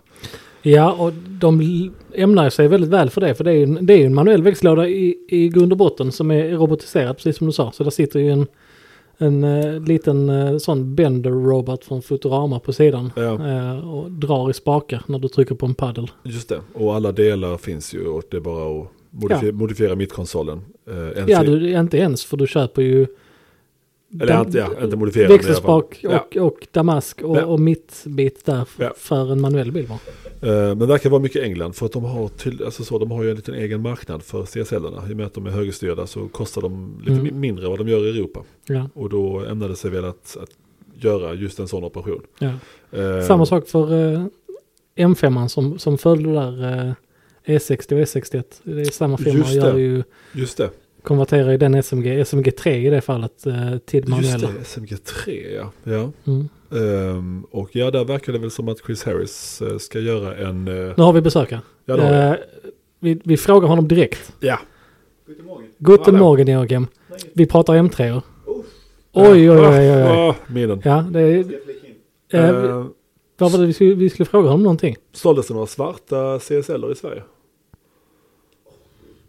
ja och de l- ämnar sig väldigt väl för det. För det är ju en, det är ju en manuell växellåda i, i grund och botten som är robotiserad, precis som du sa. Så där sitter ju en, en eh, liten eh, sån Bender Robot från Futurama på sidan.
Ja.
eh, och drar i spakar när du trycker på en paddel.
Just det, och alla delar finns ju och det är bara att modifiera,
Ja.
modifiera mittkonsolen. Uh,
Ja, du, inte ens för du köper ju
Eller
Dam-
inte, ja, inte modifierad. men i alla
växelspak
fall. Ja.
och, och damask och,
Ja.
och mittbit där f-
Ja.
för en manuell bil. va?
Eh, Men det verkar vara mycket England för att de har, till, alltså så, de har ju en liten egen marknad för CSL-erna. I och med att de är högerstyrda så kostar de lite
Mm.
mi- mindre vad de gör i Europa.
Ja,
Och då ämnade sig väl att, att göra just en sån operation.
ja.
Eh,
Samma sak för eh, M5 som, som följde där eh, E60 och E61. Det är samma firma och
Just
gör
det.
ju,
Just det,
konverterar ju den SMG, SMG3 i det fallet eh, till
just
manuella.
det, SMG3 ja. ja.
Mm.
Ehm, och ja, där verkar det väl som att Chris Harris eh, ska göra en... eh,
Nu har vi besökare.
Ja, det har vi.
Eh, vi, vi frågar honom direkt.
ja.
Guten
Hallå.
Morgen Joakim. Vi pratar M3. or Oj, oj, oj, oj. oj.
Ah, minnen.
Ja, det är, eh,
Eh,
vad var det vi skulle, vi skulle fråga honom någonting?
såldes det några svarta CSL-er i Sverige?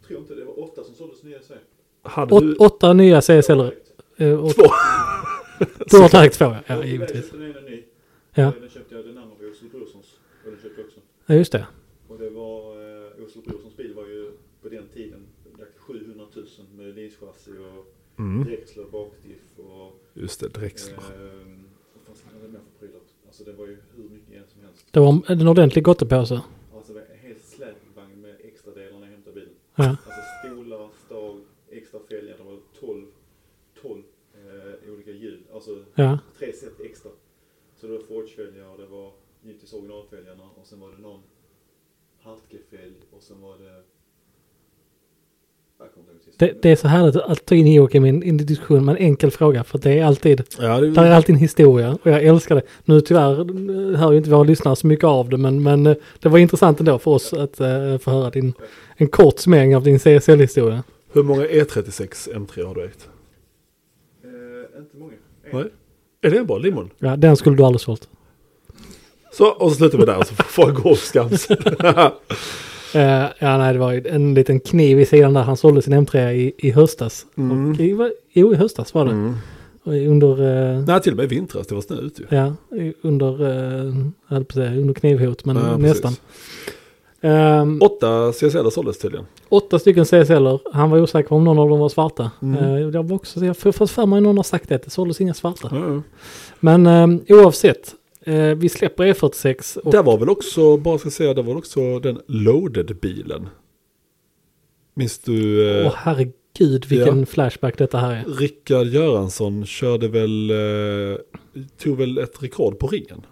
tror inte det var åtta som såldes nya i Sverige.
Hade
Åt,
du-
åtta nya CSL. Eh, och,
Två.
du har tagit två, ja.
Jag
ja
åkte iväg,
givetvis.
köpte en och ny.
Ja.
Den köpte jag, den andra var Åsel Brorssons. Och den köpte jag också.
Ja, just det.
Och det var, eh, Åsel Brorssons bil var ju på den tiden där 700 000 med linschassi och
Mm.
drexler bakdiff och...
Just det, drexler.
Ehm, vad fan ska man hade mer för prylar? Alltså det var ju hur mycket igen som helst.
Det var en ordentlig gottepåse.
Alltså det var en hel släpvagn med extra delar när jag hämtade bilen.
Ja.
Alltså stolar, stag, extra fälgar. Det var 12, 12 eh, olika hjul. Alltså
Ja.
tre set extra. Så det var Forge-fälgar och det var givetvis originalfälgarna och sen var det någon Hartke-fälg och sen var det... Jag kommer inte ihåg sist.
Det, det är så härligt att ta in Joakim i en, i en diskussion med en enkel fråga. För det är alltid,
Ja, det,
där är alltid en historia. Och jag älskar det. Nu tyvärr eh, hör ju inte våra lyssnare så mycket av det. Men, men eh, det var intressant ändå för oss att eh, få höra din, en kort smäng av din CSL-historia.
Hur många E E36 M3 har du ägt?
Eh, inte många. En.
Nej. Är det en bra limon?
Ja, den skulle du aldrig sålt.
Så, och så slutar vi där så får folk gå och skams.
Eh, ja, nej, det var ju en liten kniv i sidan där. Han sålde sin M3 i, i höstas.
Mm.
Och i, va- jo, i höstas var det. under, eh,
Nej, till och med i vintras. Det var snö ute ju.
ja, i- under, eh, jag höll på att säga, under knivhot, men
Ja, precis.
nästan. Ehm,
Åtta CSL såldes tydligen.
åtta stycken CSLer. Han var osäker på om någon av dem var svarta.
Mm.
Eh, jag var också, jag får fått för mig någon har sagt det, att det såldes inga svarta.
Ja, ja.
Men eh, oavsett, eh, vi släpper E46 och
Där var väl också, bara ska säga, det var väl också den loaded-bilen. Minns du? Eh,
Åh herregud vilken flashback detta här är.
Rickard Göransson körde väl, eh, tog väl ett rekord på ringen.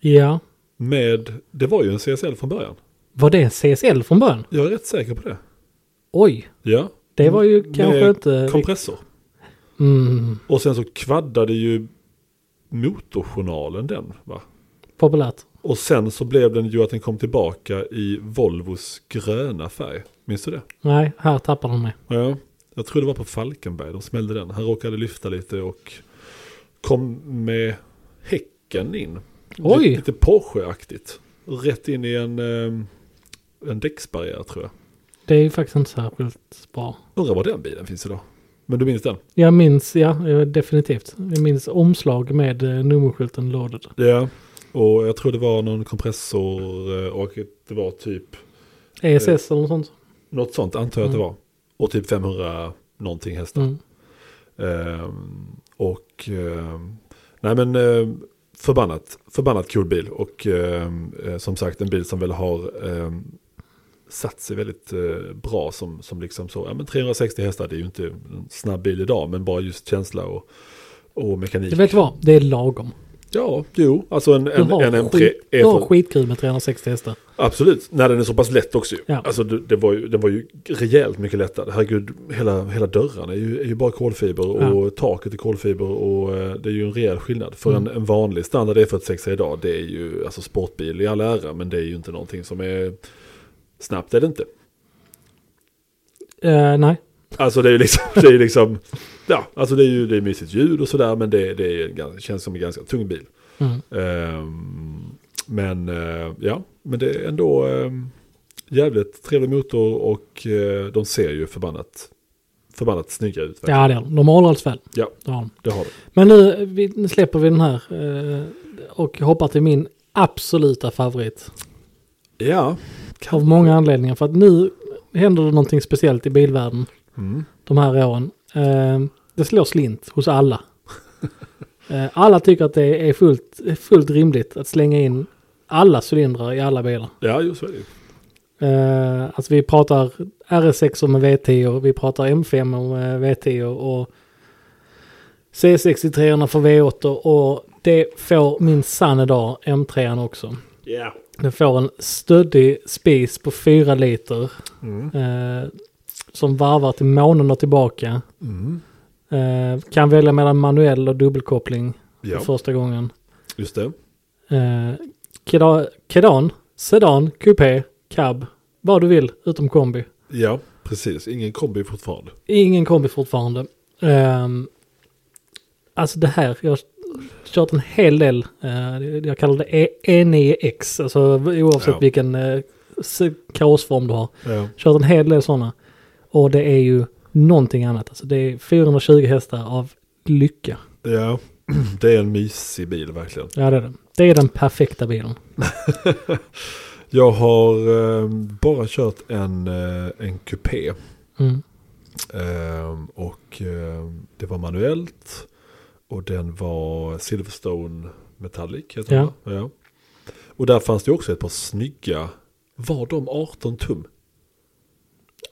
Ja,
Med, det var ju en CSL från början.
var det CSL från början?
Jag är rätt säker på det.
Oj,
Ja.
det var ju
Med
kanske inte...
Kompressor.
mm,
Och sen så kvaddade ju Motorjournalen den va?
populärt.
Och sen så blev den ju att den kom tillbaka i Volvos gröna färg. Minns du det?
Nej, här tappar de mig.
Ja, jag tror det var på Falkenberg de smällde den. Han råkade lyfta lite och kom med häcken in.
Oj!
Lite, lite Porsche-aktigt. Rätt in i en, eh, en däcksbarriär tror jag.
Det är ju faktiskt inte särskilt bra.
Undrar var den bilen finns idag. Men du minns den?
Jag minns, ja, eh, definitivt. Jag minns omslag med eh, nummerskylten loaded.
Ja. Och jag tror det var någon kompressor eh, och det var typ
ESS E eller något sånt.
något sånt antar jag att det
Mm.
var. Och typ 500 någonting hästar.
Mm.
Ehm, och ehm, nej men ehm, förbannat, förbannat kul bil och ehm, eh, som sagt en bil som väl har ehm, satt sig väldigt eh, bra som, som liksom så, ja men 360 hästar det är ju inte en snabb bil idag men bara just känsla och, och mekanik.
Det vet du vad, det är lagom.
Ja, jo, alltså en,
Du
en,
har,
en E M3
skit, du har
E40
skitkul med 360 hästar.
Absolut, när den är så pass lätt också ju.
Ja.
Alltså det, det var ju, den var ju rejält mycket lättare. Herregud, hela, hela dörren är ju, är ju bara kolfiber och taket är kolfiber och eh, det är ju en rejäl skillnad. För en, en vanlig standard E46 idag, det är ju alltså sportbil i all ära, men det är ju inte någonting som är snabbt är det inte.
Eh, nej,
Alltså det är ju liksom, det är ju liksom ja, alltså det är ju det är mysigt ljud och sådär, men det, det är, ganska- känns som en ganska tung bil.
mm.
Ehm, men eh, ja, men det är ändå ehm, jävligt trevlig motor och eh, de ser ju förbannat, förbannat snygga ut. verkligen.
ja det är de. De har åldrats väl.
Ja.
Det har de.
Det har de.
Men nu, eh, vi, nu släpper vi den här eh, och hoppar till min absoluta favorit.
Ja.
Av många anledningar. För att nu händer det någonting speciellt i bilvärlden
Mm.
de här åren. Eh, det slår slint hos alla. Eh, alla tycker att det är fullt, fullt rimligt att slänga in alla cylindrar i alla bilar.
Ja, just det.
Eh, alltså vi pratar RS6 med V10, vi pratar M5 med V10 eh, och C63 för V8 och det får min sann idag M3 också.
Ja.
Den får en stöddig spis på 4 liter
Mm.
eh, som varvar till månen och tillbaka.
Mm.
Eh, kan välja mellan manuell och dubbelkoppling för
Ja,
första gången.
just det.
Eh, keda- Kedan, sedan, coupé, cab, vad du vill utom kombi.
Ja, precis. Ingen kombi fortfarande.
Ingen kombi fortfarande. Ehm, alltså det här, jag har kört en hel del, eh, jag kallar det E- E9X, alltså oavsett
Ja.
vilken eh, s- kaosform du har.
Ja.
Kört en hel del sådana. Och det är ju någonting annat, alltså det är 420 hästar av lycka.
ja, det är en mysig bil verkligen.
Ja det är det. Det är den perfekta bilen.
Jag har eh, bara kört en, eh, en kupé.
Mm.
Ehm, och ehm, det var manuellt. Och den var Silverstone Metallic. Heter
Ja.
Den. va? ja. Och där fanns det också ett par snygga. Var de 18 tum?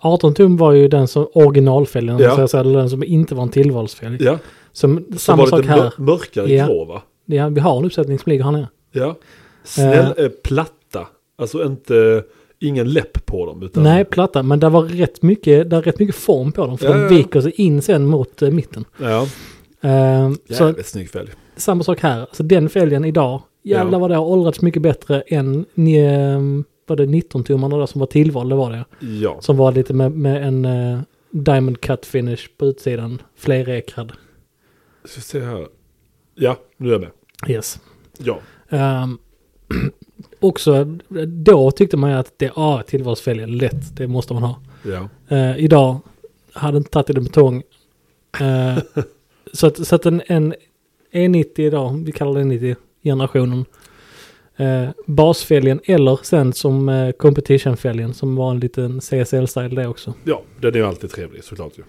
18 tum var ju den som originalfälgen,
Ja.
så jag säger, eller den som inte var en tillvalsfälg.
Ja,
Som,
som
samma
var
sak
lite
här.
mör- mörkare
Ja.
grå va?
Ja, vi har en uppsättning som ligger här nere.
Ja. Snäll, eh, platta. Alltså inte, ingen läpp på dem. Utan,
Nej, platta, men det var rätt mycket, det var rätt mycket form på dem. För
Ja, ja,
de
ja.
viker sig in sen mot eh, mitten.
Ja,
Eh, så
jävligt snygg fälg.
samma sak här. Alltså den fälgen idag, jävlar
Ja.
vad det har åldrats mycket bättre än uh, var det 19-tummarna där som var tillval, det var det.
Ja,
Som var lite med, med en eh, diamond cut finish på utsidan, flerekrad.
ska vi se här. Ja, nu är jag med.
Yes.
Ja,
Ehm, också eh, då tyckte man ju att det ja, tillvalsfälg är lätt, det måste man ha.
ja.
Eh, idag hade inte tagit i det med tång. Eh, Så att, så att en, en E90 idag, vi kallar den E90-generationen, eh, basfälgen eller sen som eh, competition-fälgen som var en liten CSL-style det också.
Ja, den är ju alltid trevlig såklart ju.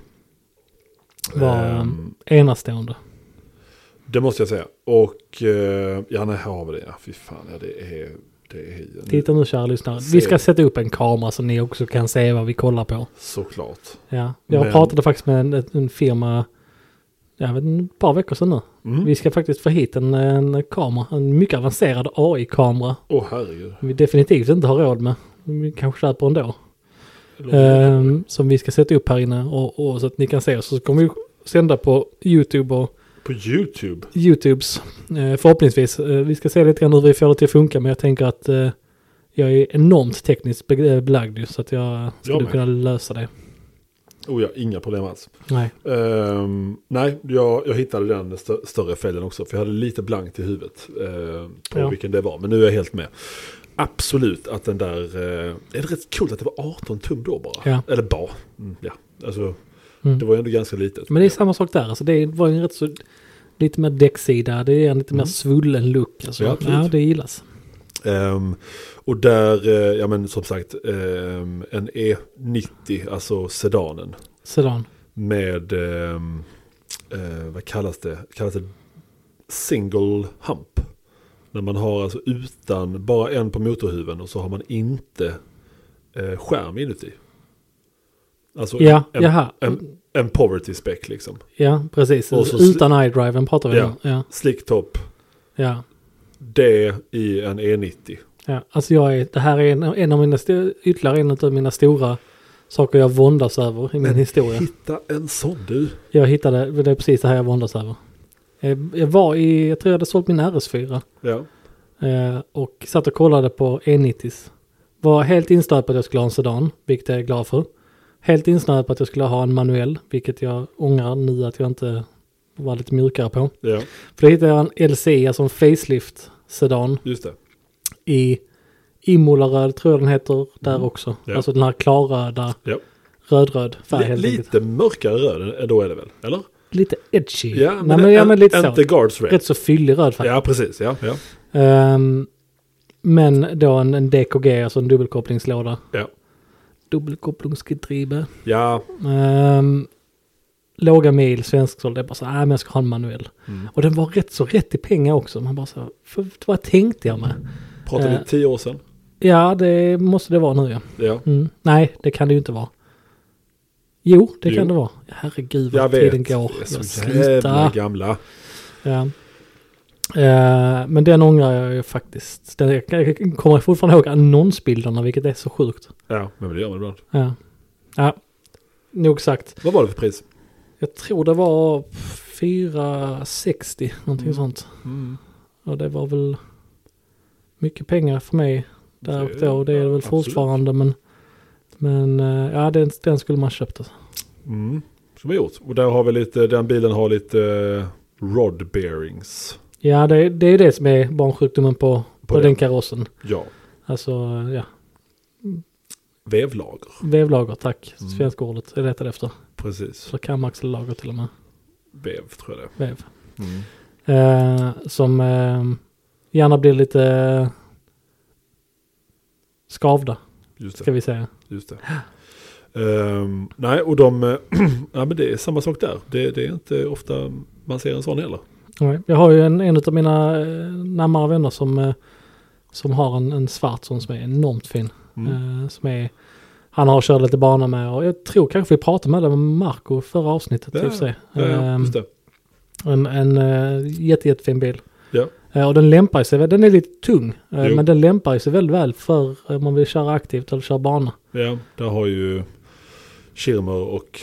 Var eh,
Ehm,
enastående.
det måste jag säga. Och eh, ja, nej, här har vi det. Ja, fy fan, ja, det är... Det är ju-
Titta nu kära lyssnare, vi ska
Ser-
sätta upp en kamera så ni också kan se vad vi kollar på.
Såklart.
Ja, jag
Men-
pratade faktiskt med en, en firma, jag vet inte, ett par veckor sedan nu.
Mm.
Vi ska faktiskt få hit en, en kamera, en mycket avancerad AI-kamera.
Åh herregud.
Som vi definitivt inte har råd med. Vi kanske köper ändå.
Det låter-
Ehm, som vi ska sätta upp här inne och, och så att ni kan se oss. Så kommer vi sända på YouTube och
På YouTube.
YouTubes eh, förhoppningsvis. Eh, vi ska se lite grann hur vi får det till att funka men jag tänker att eh, jag är enormt tekniskt be- eh, belagd ju, så att jag skulle
med.
kunna lösa det.
Oh ja, inga problem alls.
Nej.
Ehm, nej, jag, jag hittade den stö- större fällen också. För jag hade lite blankt i huvudet eh, på
Ja.
vilken det var. Men nu är jag helt med. Absolut att den där... Eh, det är rätt kul att det var 18 tum då bara.
Ja.
Eller bara. Mm, ja. Alltså,
Mm.
det var ju ändå ganska litet.
Men det är samma sak där. Alltså det var ju en rätt så lite mer däcksida. Det är en lite mer
Mm.
svullen look. Alltså.
Ja,
Ja,
absolut.
det gillas.
Ehm, och där, eh, ja men som sagt, ehm, en E90, alltså sedanen.
Sedan.
Med, ehm, eh, vad kallas det? Kallas det single hump? När man har alltså utan, bara en på motorhuven och så har man inte eh, skärm inuti. Alltså
Ja,
en,
jaha.
en, en poverty spec liksom.
Ja, precis.
Och så-
Utan iDriven pratar vi
Ja.
om. Ja,
Slicktop,
ja,
det i en E90.
ja. Alltså jag är, det här är en, en av mina, sto- ytterligare en av mina stora saker jag våndas över i min historia.
hitta en sån du.
Jag hittade, det är precis det här jag våndas över. Eh, Jag var i, jag tror jag hade sålt min RS4.
Ja.
eh, Och satt och kollade på E90s. Var helt insnöad på att jag skulle ha en sedan, vilket jag är glad för. Helt insnöad på att jag skulle ha en manuell, vilket jag ångrar nu att jag inte var lite mjukare på.
ja,
För då hittade jag en LC, alltså en facelift sedan
just det.
i Imolaröd tror jag den heter där
Mm.
också.
Ja.
Alltså den här klarröda,
Ja.
rödröd färg
Li-
helt enkelt.
lite mörkare röd eh, då är det väl? Eller?
Lite edgy.
Ja,
Nej, men, ja, men lite så.
Inte guards red.
Rätt så fyllig röd färg.
Ja, precis. Ja, ja.
Ehm, men då en, en DKG, alltså en dubbelkopplingslåda.
Ja.
Dubbelkopplingsgetribe.
ja.
Um, låga mil, svensksåld. Det är bara så, nej men jag ska ha en manuell.
Mm.
Och den var rätt så rätt i pengar också. Man bara så, för, vad tänkte jag med?
Pratar vi
Eh.
tio år sedan?
Ja, det måste det vara nu ja.
Ja.
Mm. Nej, det kan det ju inte vara. Jo, det
Jo.
kan det vara. Herregud
Jag
vad
vet.
tiden går.
Vi är
Jag
så
slutar.
jävla gamla.
Ja. Eh, men den ångrar jag ju faktiskt. Den, jag kommer fortfarande ihåg annonsbilderna, vilket är så sjukt.
Ja, men det gör man ibland.
Ja. ja. Nog sagt.
Vad var det för pris?
Jag tror det var 460, någonting
Mm.
sånt. Och det var väl mycket pengar för mig där och då. Det är det väl
Absolut.
fortfarande, men... Men eh, ja, den, den skulle man köpt. Alltså.
Mm. Som vi gjort. Och där har vi lite, den bilen har lite eh, rod bearings.
Ja, det, det är ju det som är barnsjukdomen på, på,
den.
den karossen.
Ja.
Alltså, ja.
Vevlager.
Vevlager, tack.
Mm.
Svenska ordet jag letar efter.
Precis.
Så kamaxellager till och med.
Vev tror jag det
Vev.
är. Mm.
Eh, som eh, gärna blir lite eh, skavda,
Just det.
ska vi säga.
Just det. Ehm, nej, och de... eh, ja, men det är samma sak där. Det, det är inte ofta man ser en sån heller.
Nej, Jag har ju en, en av mina eh, närmare vänner som, eh, som har en, en svart sån som är enormt fin.
Mm.
Eh, som är, han har kört lite bana med och jag tror kanske vi pratade med det med Marco förra avsnittet.
Ja,
i och för sig.
Ja, ja,
Ehm,
just det.
En, en eh, jätte, jättefin bil.
Ja.
Eh, och den lämpar sig, väl- den är lite tung, eh,
Jo.
men den lämpar ju sig väldigt väl för eh, om man vill köra aktivt eller köra bana.
Ja, där har ju Schirmer och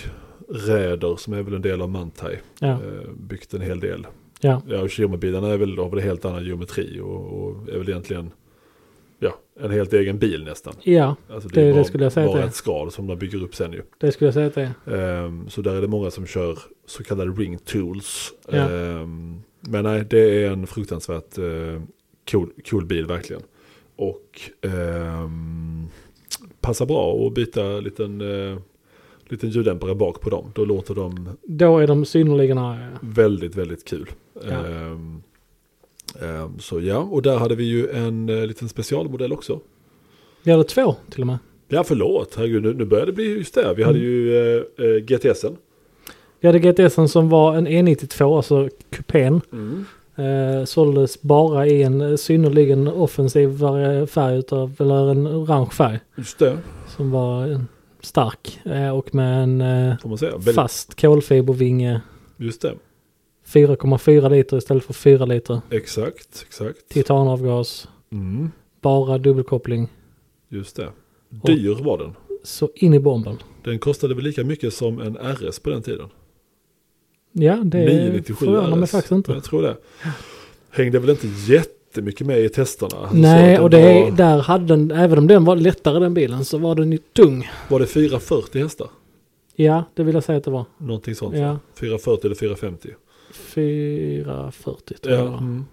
Räder som är väl en del av Mantai
Ja,
eh, byggt en hel del.
ja,
Ja, och Schirmerbilarna är väl av en helt annan geometri och, och är väl egentligen ja, en helt egen bil nästan.
ja,
Alltså
Det-
bara,
det skulle jag säga att
bara
det är.
ett skal som de bygger upp sen ju.
det skulle jag säga att det är.
Ehm, så där är det många som kör så kallade ring tools.
Ja.
Ehm, men nej, det är en fruktansvärt eh, cool, cool bil verkligen. Och ehm, passar bra att byta liten eh, liten ljuddämpare bak på dem. Då låter de
Då är de synnerligen eh, arga.
väldigt, väldigt kul.
Ja.
Ehm, ehm, så ja, och där hade vi ju en eh, liten specialmodell också.
Ja, det är två till och med.
Ja, förlåt. Herregud, nu, nu börjar det bli just det. Vi hade
Mm.
ju eh, eh, GTSen.
Vi hade GTSen som var en E92, alltså kupén. Eh, såldes bara i en eh, synnerligen offensiv vari- färg utav, eller en orange färg.
Just det,
Som var eh, stark eh, och med en eh,
får man säga. Väldigt,
fast kolfibervinge.
just det,
4,4 liter istället för 4 liter.
exakt, exakt.
Titanavgas.
Mm.
Bara dubbelkoppling.
Just det. Dyr var den.
Så in i bomben.
Den kostade väl lika mycket som en RS på den tiden.
Ja, det
997
förvånar mig
RS.
faktiskt inte.
Jag tror det. Hängde väl inte jättemycket med i testerna. Alltså, Så att
Nej,
den
och det,
var,
där hade den, även om den var lättare den bilen så var den ju tung.
var det 440 hästar?
Ja, det vill jag säga att det var.
Någonting sånt.
Ja,
440 eller 450.
440 tror jag det
Ja.
var.
Mm.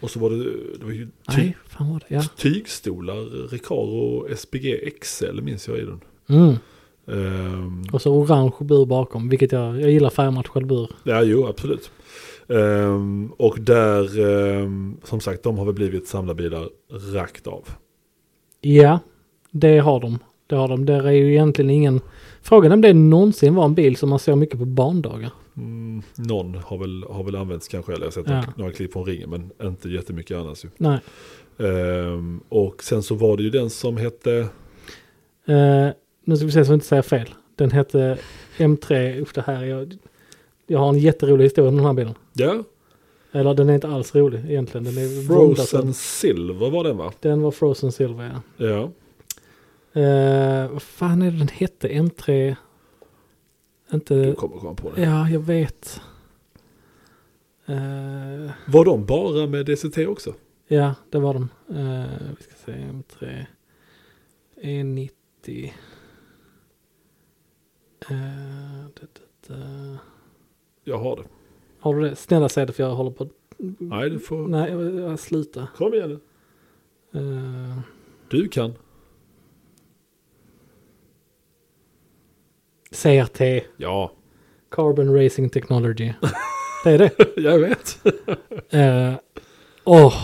Och så var det, det var ju ty,
Nej, fan var det? Ja.
tygstolar, Recaro SPG XL minns jag i den.
Mm.
Ehm,
Och så orange bur bakom, vilket jag, jag gillar färgmatchad bur.
Ja, jo, absolut. Ehm, och där, ehm, som sagt, de har väl blivit samlarbilar rakt av.
Ja, det har de. Det har de. Det är ju egentligen ingen... Frågan är om det någonsin var en bil som man såg mycket på barndagar.
Mm, någon har väl, har väl använts kanske, eller jag har sett
Ja.
några- några klipp från ringen, men inte jättemycket annars. ju.
Nej.
Ehm, och sen så var det ju den som hette,
Eh, nu ska vi se så vi inte säger fel. Den hette M3, usch det här, är jag, jag har en jätterolig historia om den här bilen.
ja,
Eller den är inte alls rolig egentligen. Den är våndasen.
Frozen Silver var den va?
Den var Frozen Silver ja.
Ja,
Eh, vad fan är det den hette? M3?
du
Inte...
kommer komma på det.
Ja, jag vet. Eh,
Var de bara med DCT också?
ja, det var de. Eh, vi ska se E M3. E90. Eh, det, det, det.
Jag har det.
Har du det? Snälla säg det för jag håller på.
Nej, du får...
Nej, jag, jag slutar.
Kom igen nu.
Eh,
Du kan.
CRT.
Ja,
Carbon Racing Technology. Det är det.
jag vet.
Eh, Åh,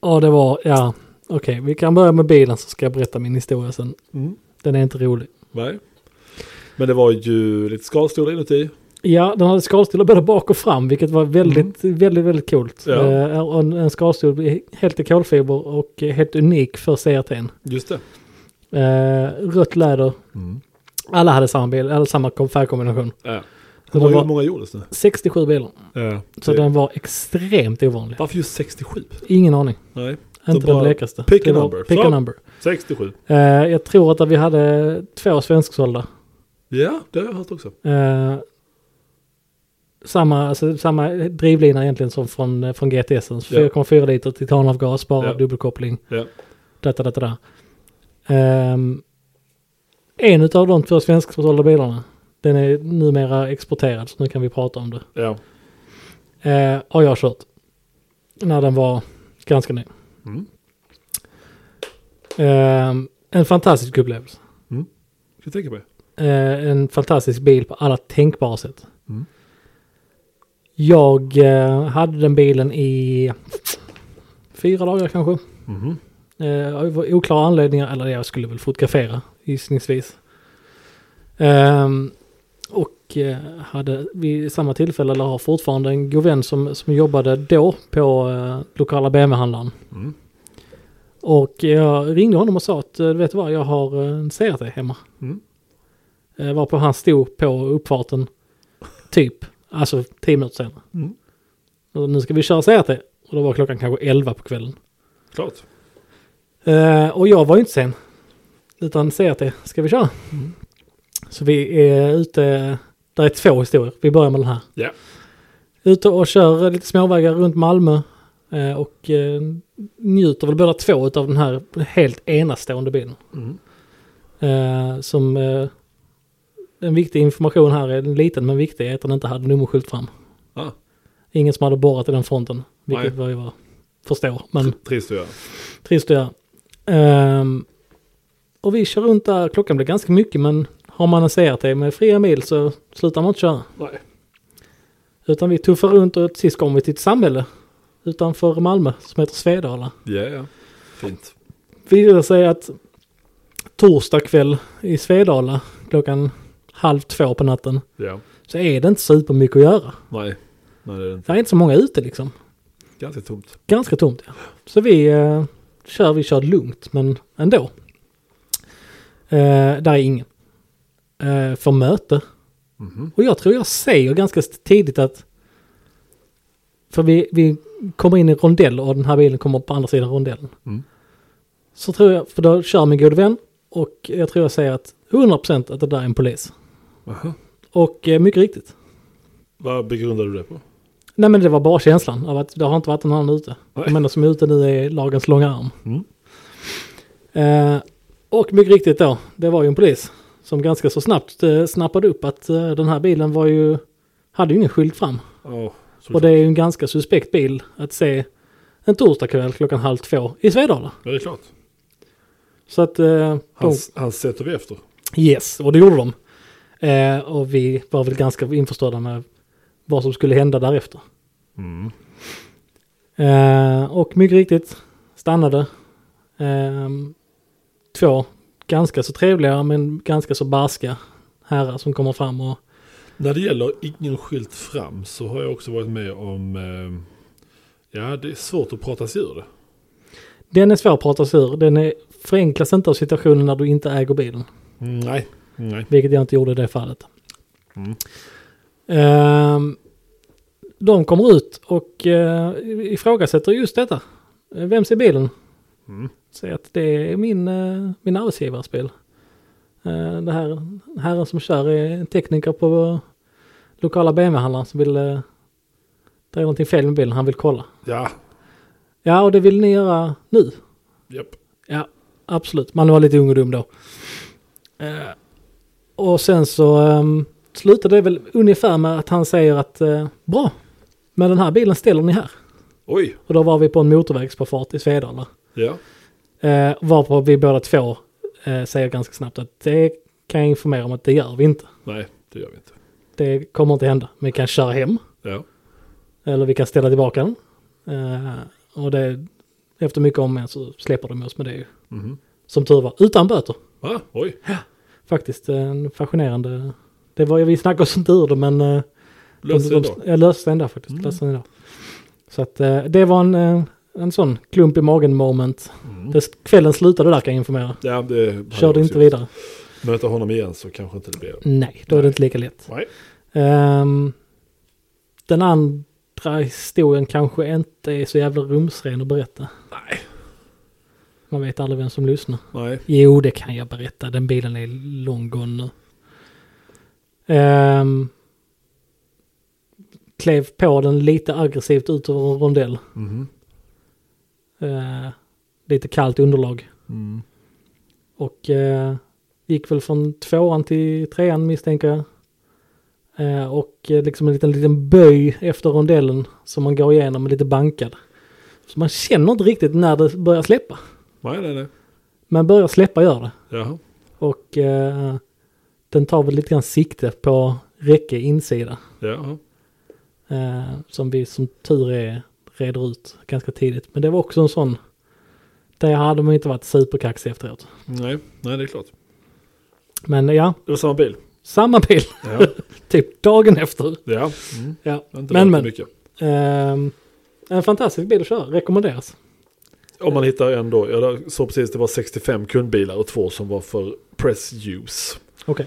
Åh, det var, ja. Okej, vi kan börja med bilen så ska jag berätta min historia sen.
Mm.
Den är inte rolig.
Nej. Men det var ju lite skalstolar inuti.
Ja, den hade skalstolar både bak och fram, vilket var väldigt, väldigt, väldigt coolt.
Mm. Ja.
Eh, och en, en skalstol helt i kolfiber och helt unik för CRT'n.
Just det.
Eh, rött läder.
Mm.
Alla hade samma bil, alla samma kom- färgkombination.
Ja.
Det
Hur många,
var-
hur många gjordes det?
67 bilar,
Ja.
så
det
den var extremt ovanlig.
Varför just 67?
Ingen aning,
Nej.
inte den
bara
blekaste.
pick a
Det var
number.
Pick a
Så.
number.
67.
Eh, jag tror att vi hade två svensksålda.
Ja, det har jag hört också.
Eh, samma, alltså, samma drivlina egentligen som från, eh, från GTS. 4,4 liter titanavgas, bara
Ja.
dubbelkoppling.
Ja.
Da, da, da, da, da. Ehm, en av de två svenskförsålda bilarna, den är numera exporterad, så nu kan vi prata om det.
Ja.
Eh, har jag kört. När den var ganska ny.
Mm.
Ehm, en fantastisk upplevelse.
Ska jag tänka mig.
eh, en fantastisk bil på alla tänkbara sätt.
Mm.
Jag eh, hade den bilen i fyra dagar kanske.
Mhm.
Eh, av oklara anledningar, eller jag skulle väl fotografera gissningsvis. Ehm, och eh, hade vid samma tillfälle, eller har fortfarande en god vän som, som jobbade då på eh, lokala BMW-handlaren.
Mm.
Och jag ringde honom och sa att, eh, vet du vad, jag har eh, en CRT hemma.
Mm.
Eh, varpå han stod på uppfarten, typ, alltså tio minuter senare.
Mm.
Och nu ska vi köra CRT. Och då var klockan kanske 11 på kvällen.
Klart.
Eh, och jag var ju inte sen. Utan säger att det ska vi köra. Så vi är ute. Där är två historier. Vi börjar med den här.
Ja.
Ute och kör lite småvägar runt Malmö. eh, Och eh, njuter väl båda två av den här helt enastående bilen.
Mm.
Eh, Som eh, en viktig information här är en liten men viktig är att den inte hade nummerskylt fram.
Ah,
Ingen som hade borrat i den fronten. Vilket
Nej. Mm.
var ju vad jag förstår. Men
trist att göra.
Trist att göra. Ehm, och vi kör runt där, klockan blir ganska mycket men har man en CRT med fria mil så slutar man inte köra.
Nej.
Utan vi tuffar runt och till sist kom vi till ett samhälle utanför Malmö som heter Svedala.
Ja, ja. Fint.
Visade sig att torsdag kväll i Svedala klockan halv två på natten
Ja.
så är det inte supermycket att göra.
Nej. Nej, det är inte.
Det är inte så många ute liksom.
Ganska tomt.
Ganska tomt ja. Så vi eh, kör, vi kör lugnt men ändå. Eh, där är ingen. Eh, för möte.
Mhm.
Och jag tror jag säger ganska tidigt att för vi, vi kommer in i en rondell och den här bilen kommer på andra sidan rondellen.
Mm.
Så tror jag, för då kör min gode vän och jag tror jag säger att 100% att det där är en polis.
Aha.
Och eh, mycket riktigt.
Vad begrundar du det på?
Nej men det var bara känslan av att det har inte varit någon annan ute.
Nej.
De enda som är ute nu är lagens långa arm.
Mm.
Eh, och mycket riktigt då, det var ju en polis som ganska så snabbt eh, snappade upp att eh, den här bilen var ju, hade ju ingen skylt fram.
Ja, såklart.
Och det är ju en ganska suspekt bil att se en torsdagkväll klockan halv två i Svedala.
Ja, det är klart.
Så att... Eh, de,
Hans, hans sätter vi efter.
yes, och det gjorde de. Eh, och vi var väl ganska införstådda med vad som skulle hända därefter.
Mm.
Eh, och mycket riktigt stannade eh, två ganska så trevliga men ganska så barska herrar som kommer fram och
När det gäller ingen skylt fram så har jag också varit med om... Eh, ja, det är svårt att prata sig ur det.
den är svår att prata sig ur. Den är, förenklas inte av situationen när du inte äger bilen.
Mm, Nej. Nej.
Vilket jag inte gjorde i det fallet.
Mm.
Ehm, de kommer ut och eh, ifrågasätter just detta. Eh, Vems är bilen?
Mm.
Säger att det är min, eh, min arbetsgivares bil. Eh, det här herren som kör är en tekniker på lokala BMW-handlaren som vill... Eh, det är någonting fel med bilen, han vill kolla.
Ja.
Ja, och det vill ni göra nu?
Japp.
Ja, absolut. Man var lite ung och dum då. Eh, och sen så um, slutade det väl ungefär med att han säger att eh, bra, men den här bilen ställer ni här.
Oj.
Och då var vi på en motorvägspåfart i Svedala.
Ja.
Eh, varpå vi båda två eh, säger ganska snabbt att det kan jag informera om att det gör vi inte.
Nej, det gör vi inte.
Det kommer inte hända. Men vi kan köra hem
Ja.
eller vi kan ställa tillbaka den. Eh, och det, efter mycket om och men så släpper de oss med det ju.
Mhm.
Som tur var, utan böter.
Va? Oj.
faktiskt en fascinerande. Det var, vi snackade oss inte ur det men eh,
Lös det
de,
ändå.
jag löste den där faktiskt.
Mm.
Löste den där. Så att eh, det var en, eh, en sån klump i magen moment.
Mm.
Det, kvällen slutade där kan jag informera.
Ja, det hade jag
Körde inte
också gjort.
vidare.
Möta honom igen så kanske inte det blir...
Nej, då är det inte lika lätt.
Nej.
Ehm, den andra historien kanske inte är så jävla rumsren att berätta.
Nej.
Man vet aldrig vem som lyssnar.
Nej.
Jo, det kan jag berätta. Den bilen är long gone nu. Ehm, klev på den lite aggressivt ut över en rondell.
Mhm.
Eh, lite kallt underlag.
Mm.
Och eh, gick väl från tvåan till trean misstänker jag. Eh, och eh, liksom en liten, liten böj efter rondellen som man går igenom lite bankad. Så man känner inte riktigt när det börjar släppa.
Nej, nej, nej.
Men börjar släppa gör det.
Jaha.
Och eh, den tar väl lite grann sikte på räcke insida.
Jaha.
Eh, som vi som tur är reder ut ganska tidigt. Men det var också en sån. Där hade man inte varit superkaxig efteråt.
Nej. Nej, det är klart.
Men ja,
Det var samma bil.
samma bil.
Ja.
Typ dagen efter.
ja. Mm.
Ja.
Det har inte
Men men.
men, men. mycket.
Ehm, en fantastisk bil att köra. Rekommenderas.
Om man hittar en då, jag såg precis det var 65 kundbilar och två som var för press use.
Okej.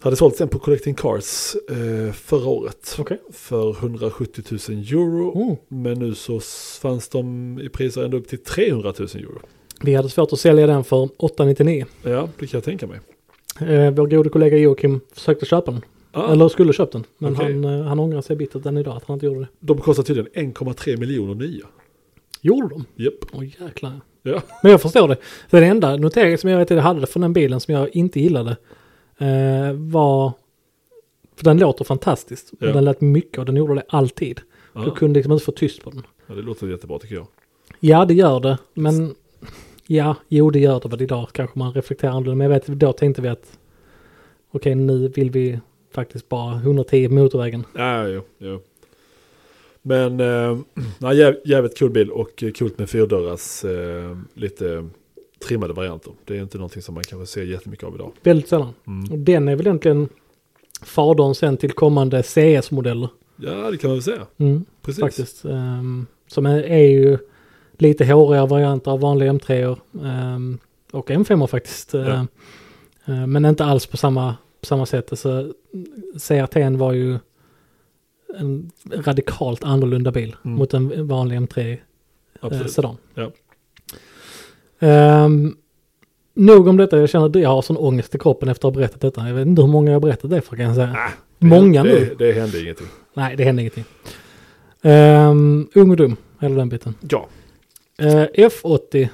Hade sålts en på Collecting Cars eh, förra året
Okej.
för 170 000 euro.
Oh.
Men nu så fanns de i priser ända upp till 300 000 euro.
Vi hade svårt att sälja den för 899.
Ja, det kan jag tänka mig.
Eh, vår gode kollega Joakim försökte köpa den.
Ah,
Eller skulle köpt den. Men
Okej.
han, eh, han ångrar sig bittert än idag att han inte gjorde det.
De kostar tydligen 1,3 miljoner nya.
Gjorde de?
Japp.
Åh jäklar.
Ja.
Men jag förstår det. För den enda noteringen som jag vet att jag hade från den bilen som jag inte gillade eh, var... För den låter fantastiskt. men
Ja.
Den lät mycket och den gjorde det alltid. Du
Ah,
kunde liksom inte få tyst på den.
ja, det låter jättebra tycker jag.
Ja, det gör det. Men... Ja, jo det gör det väl idag kanske man reflekterar annorlunda. Men jag vet, då tänkte vi att... okej nu vill vi faktiskt bara 110 på motorvägen.
Ja, jo, jo. Men eh, nej, jäv- jävligt kul bil och eh, kul med fyrdörrars eh, lite trimmade varianter. Det är inte någonting som man kanske ser jättemycket av idag. Mm.
Väldigt sällan. Och den är väl egentligen fadern sen till kommande CS-modeller.
Ja, det kan man väl säga.
Mm,
Precis.
faktiskt. Ehm, som är, är ju lite håriga varianter av vanliga M3 um, och M5 faktiskt.
Ja.
Ehm, men inte alls på samma, på samma sätt. Alltså, CRT var ju en radikalt annorlunda bil
Mm.
mot en vanlig M3 eh,
Absolut.
sedan.
Ja.
Ehm, nog om detta, jag känner att jag har sån ångest i kroppen efter att ha berättat detta. Jag vet inte hur många jag har berättat det för kan jag säga. Många
Ah, det,
nu.
det, det hände ingenting.
Nej, det händer ingenting. Um, ung och dum, hela den biten.
Ja,
Eh, F80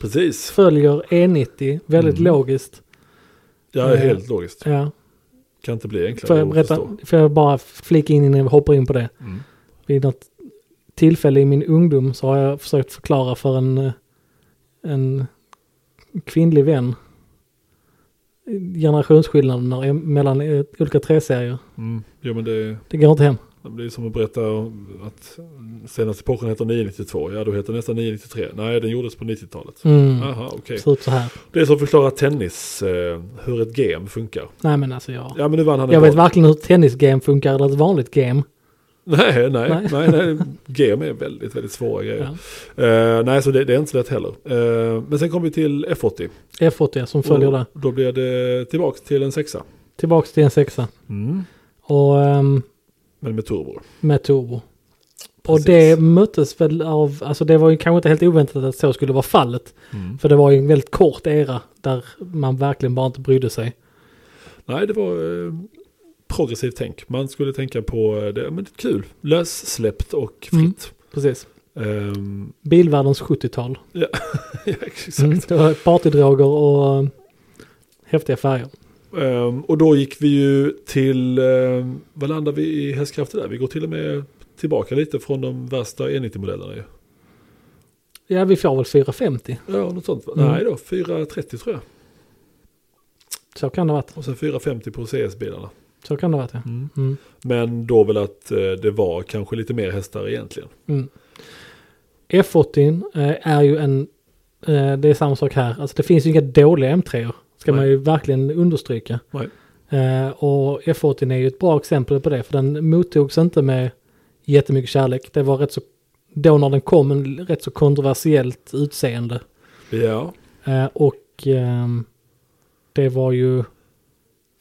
precis.
följer E90, väldigt
Mm.
logiskt.
Ja, det är
Eh,
helt logiskt.
Ja,
Kan inte bli enklare
får, jag
att
berätta,
förstå.
får jag bara flika in innan vi hoppar in på det?
Mm.
Vid något tillfälle i min ungdom så har jag försökt förklara för en, eh, en kvinnlig vän generationsskillnaderna eh, mellan eh, olika treserier.
Mm. Jo, men det,
Det går inte hem.
det är som att berätta om att senaste Porschen heter 992. Ja, då heter nästa 993. Nej, den gjordes på 90-talet.
Mm.
Aha, okej.
Ser ut så här.
Det är som att förklara tennis, eh, hur ett game funkar.
Nej men alltså jag...
Ja men nu vann han
Jag
en
vet
boll.
verkligen hur ett tennisgame funkar eller ett vanligt game.
Nej, nej,
Nej.
nej, nej, Game är väldigt, väldigt svåra grejer. Eh, nej, så det, det är inte så lätt heller. Eh, men sen kommer vi till F80.
F80 som följer
Och
det.
Då blir det tillbaks till en sexa.
Tillbaks till en sexa. Mm. Och ehm,
Men med turbo.
med turbo. Och
Precis.
det möttes väl av, alltså det var ju kanske inte helt oväntat att så skulle vara fallet. För det var ju en väldigt kort era där man verkligen bara inte brydde sig.
Nej, det var eh, progressivt tänk. Man skulle tänka på eh, det, men det är kul. Lössläppt och
Mm.
fritt.
Precis.
Ehm,
Bilvärldens 70-tal.
ja, exakt.
Mm. Det var partydroger och ehm, häftiga färger.
Ehm, och då gick vi ju till, um, vad landade vi i hästkrafter där? Vi går till och med tillbaka lite från de värsta E90-modellerna ju.
Ja, vi får väl 450.
Ja, något sånt. va?
Mm.
Nej då, 430 tror jag.
Så kan det ha varit.
Och sen 450 på CS-bilarna.
Så kan det ha varit, ja.
Mm.
Mm.
Men då väl att eh, det var kanske lite mer hästar egentligen.
Mm. F80 eh, är ju en, eh, det är samma sak här, alltså det finns ju inga dåliga M3. Ska
Nej.
man ju verkligen understryka.
Nej.
Eh, och F80 är ju ett bra exempel på det, för den mottogs inte med jättemycket kärlek. Det var rätt så, då när den kom, en rätt så kontroversiellt utseende.
Ja,
Eh, och ehm, det var ju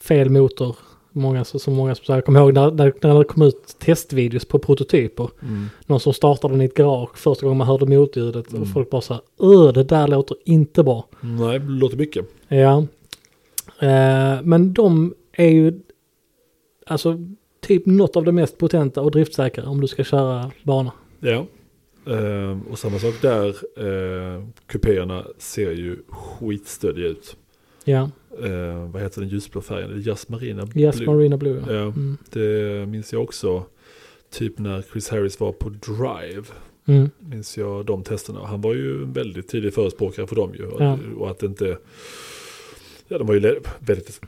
fel motor. Många, så, så många som sa, jag kommer ihåg när, när, när det kom ut testvideos på prototyper
Mm.
någon som startade den i ett garage första gången man hörde motljudet och
Mm.
folk bara så här, öh det där låter inte bra.
nej, det låter mycket.
Ja. Eh, men de är ju alltså typ något av det mest potenta och driftsäkra om du ska köra bana.
Ja. Ehm, och samma sak där, uh, kupéerna ser ju skitstöddiga ut.
Ja,
Ehm, vad heter den ljusblå färgen? Är det Jasmarina
Yes
Blue?
Marina Blue. Ja.
Ja,
Mm.
det eh, minns jag också. Typ när Chris Harris var på Drive.
Mm.
Minns jag de testerna. Han var ju en väldigt tidig förespråkare för dem ju. Och,
Ja.
och att det inte... Ja, de var ju le- väldigt,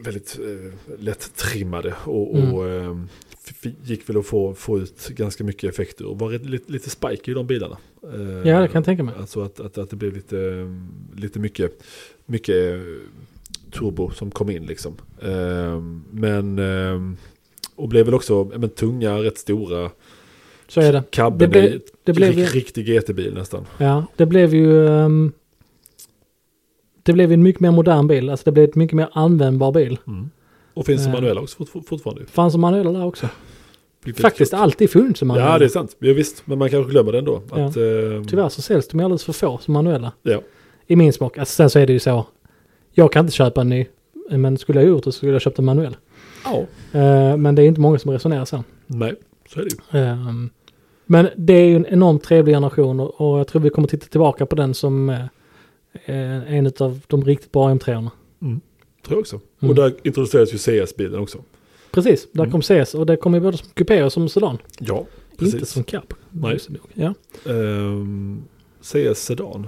väldigt eh, lätt trimmade. Och,
Mm.
och eh, f- gick väl att få, få ut ganska mycket effekt ur. Var rätt- lite, lite spike i de bilarna. Eh,
ja, det kan jag tänka mig.
Alltså att, att, att det blev lite, eh, lite mycket, mycket eh, turbo som kom in liksom. Ehm, men, ehm, och blev väl också eh, men, tunga, rätt stora.
Så är det.
Cabben
Det blev-
är ju
Det blev
rik-
ju,
riktig GT-bil nästan.
ja, det blev ju ehm, det blev ju en mycket mer modern bil, alltså det blev ett mycket mer användbar bil.
Och finns som
Eh.
manuella också fort, fortfarande.
Fanns som manuella där också.
Vilket
Faktiskt
är
alltid funnits som
kul.
manuella.
Ja, det är sant. Ja, visst, men man kanske glömmer den då.
Ja.
Att, ehm,
Tyvärr så säljs de alldeles för få som manuella.
Ja.
I min smak. Alltså, sen så är det ju så. Jag kan inte köpa en ny. Men skulle jag gjort det så skulle jag köpt en manuell.
ja.
Eh, men det är inte många som resonerar så.
Nej, så är det ju.
Eh, men det är ju en enormt trevlig generation och, och jag tror vi kommer titta tillbaka på den som eh, eh, en av de riktigt bra m 3 erna
Tror jag också.
Mm.
Och där introduceras ju CS-bilen också.
Precis, där
Mm.
kom CS och det kom ju både som kupé och som sedan.
Ja,
Inte som cab.
Nej.
Ja.
Ehm, CS Sedan.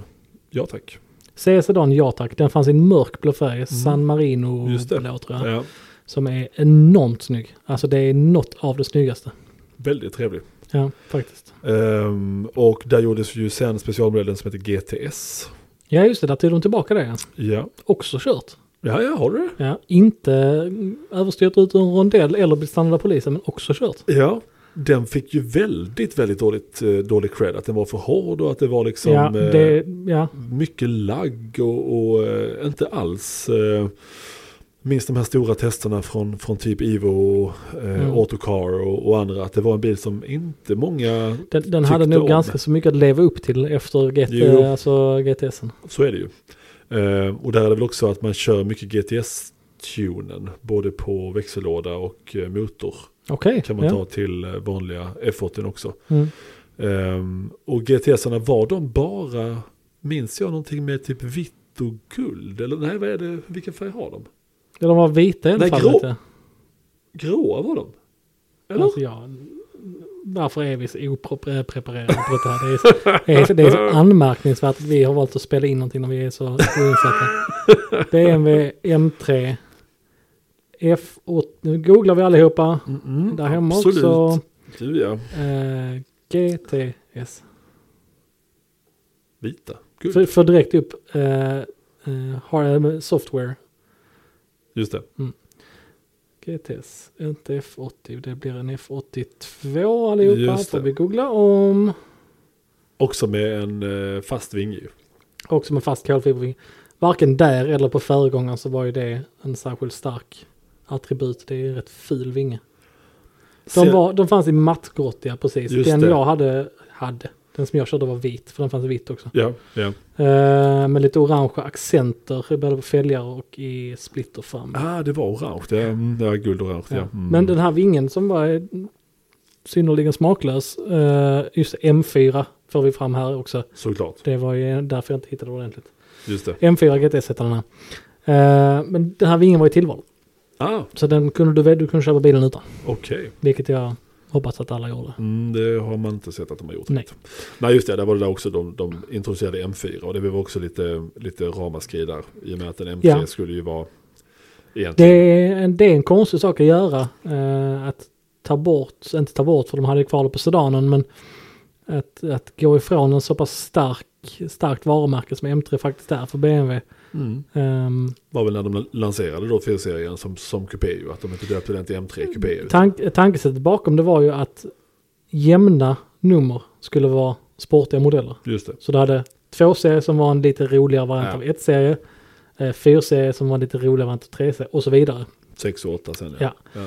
Ja tack.
C-sedan, ja tack. Den fanns i en mörkblå färg, San Marino
Mm. Just det.
blå tror jag.
Ja,
Som är enormt snygg. Alltså det är något av det snyggaste.
väldigt trevlig.
Ja, faktiskt.
Ehm, och där gjordes ju sen specialmodellen som heter GTS.
Ja, just det. Där tog de tillbaka det. ja.
Ja,
Också kört.
ja, ja har du det?
Ja, inte mm, överstyrt ut ur en rondell eller blivit stannad av polisen, men också kört.
Ja, den fick ju väldigt, väldigt dåligt, eh, dålig cred. Att den var för hård och att det var liksom
ja,
eh,
det, ja,
mycket lagg och, och eh, inte alls. Eh, minst de här stora testerna från, från typ Ivo och eh,
Mm.
Autocar och, och andra. Att det var en bil som inte många,
den, den hade
tyckte
nog
om.
ganska så mycket att leva upp till efter
Jo.
GT, alltså GTSen.
så är det ju. Eh, och där är det väl också att man kör mycket GTS-tunen. Både på växellåda och eh, motor.
Okej.
Kan man
ja.
ta till eh, vanliga F80 också.
Mm.
Ehm, och GTS-arna var de bara, minns jag någonting med typ vitt och guld? Eller nej, vad är det, vilken färg har de?
Ja, de var vita i alla
Nej,
fall.
grå.
Lite.
Gråa var de? Eller?
Alltså, ja, varför är vi så opreparerade på det här? Det är, så, det, är så, det är så anmärkningsvärt att vi har valt att spela in någonting när vi är så oinsatta. BMW M3 F8, nu googlar vi allihopa
Mm-mm,
där hemma
Mm, absolut.
också.
Du ja,
Eh, GTS.
vita, guld.
För, för direkt upp eh, eh, har jag med software.
Just det.
GTS, inte F80. Det blir en F82 allihopa.
Just
Får
det.
vi googla om.
Också med en eh, fast vinge ju.
Och som en fast kolfiberring. Varken där eller på föregångaren så var ju det en särskilt stark attribut. Det är ju en rätt ful vinge. De,
Ser-
var, de fanns i mattgrottiga precis.
Just
den
det.
jag hade, hade, den som jag körde var vit. För den fanns i vitt också.
Ja, ja.
Eh, med lite orangea accenter i både på fälgar och i splitter fram.
Ah, det var orange. Det, mm, ja, guld och orange. Ja.
Ja.
Mm.
Men den här vingen som var eh, synnerligen smaklös, eh, just M4 får vi fram här också.
Såklart,
Det var ju därför jag inte hittade ordentligt.
just det.
M4 GTS heter den här. Eh, men den här vingen var ju tillval.
Ah,
Så den kunde du, du kunde köpa bilen utan.
okej.
Vilket jag hoppas att alla gjorde.
Mm, det har man inte sett att de har gjort.
Nej.
Nej just det, där var det där också de, de introducerade M4 och det blev också lite, lite ramaskri där. I och med att en M3
Ja.
skulle ju vara
Det
egentligen...
är, en, det är en konstig sak att göra. Eh, att ta bort, inte ta bort för de hade ju kvar det på sedanen, men att, att gå ifrån en så pass stark, starkt varumärke som M3 faktiskt är för BMW.
Mm,
Ehm,
var väl när de lanserade då 4-serien som, som kupé ju, att de inte döpte den till M3 kupé. utan-
Tank, tankesättet bakom det var ju att jämna nummer skulle vara sportiga modeller.
Just det,
Så du hade två serier som var en lite roligare variant
Ja.
av ett serie, eh, fyra serier som var en lite roligare variant av tre serier och så vidare.
6 och 8 sen
Ja.
ja.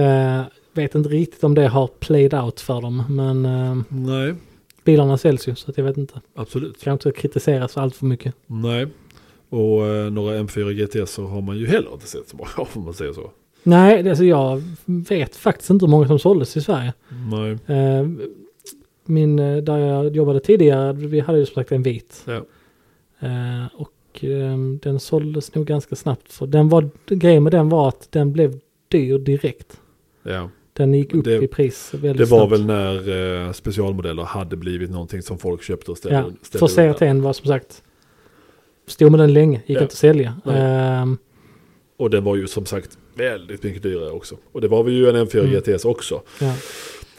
Eh, vet inte riktigt om det har played out för dem, men eh,
Nej,
bilarna säljs ju så att jag vet inte.
absolut.
Kan inte kritiseras allt för mycket.
Nej. Och eh, några M4 GTS så har man ju heller inte sett så många av, om man säger så.
Nej, det- alltså jag vet faktiskt inte hur många som såldes i Sverige.
Nej.
Eh, min, eh, där jag jobbade tidigare, vi hade ju som sagt en vit.
Ja.
Eh, och ehm, den såldes nog ganska snabbt. För den var, grejen med den var att den blev dyr direkt.
ja.
Den gick upp
Det-
i pris väldigt
Det var
snabbt.
väl när eh, specialmodeller hade blivit någonting som folk köpte och ställde,
Ja,
ställde
för
undan.
CRT'n var som sagt, stod med den länge, gick
Ja.
inte att sälja.
Nej.
Ehm,
Och den var ju som sagt väldigt mycket dyrare också. Och det var väl ju en M4
Mm.
GTS också.
ja.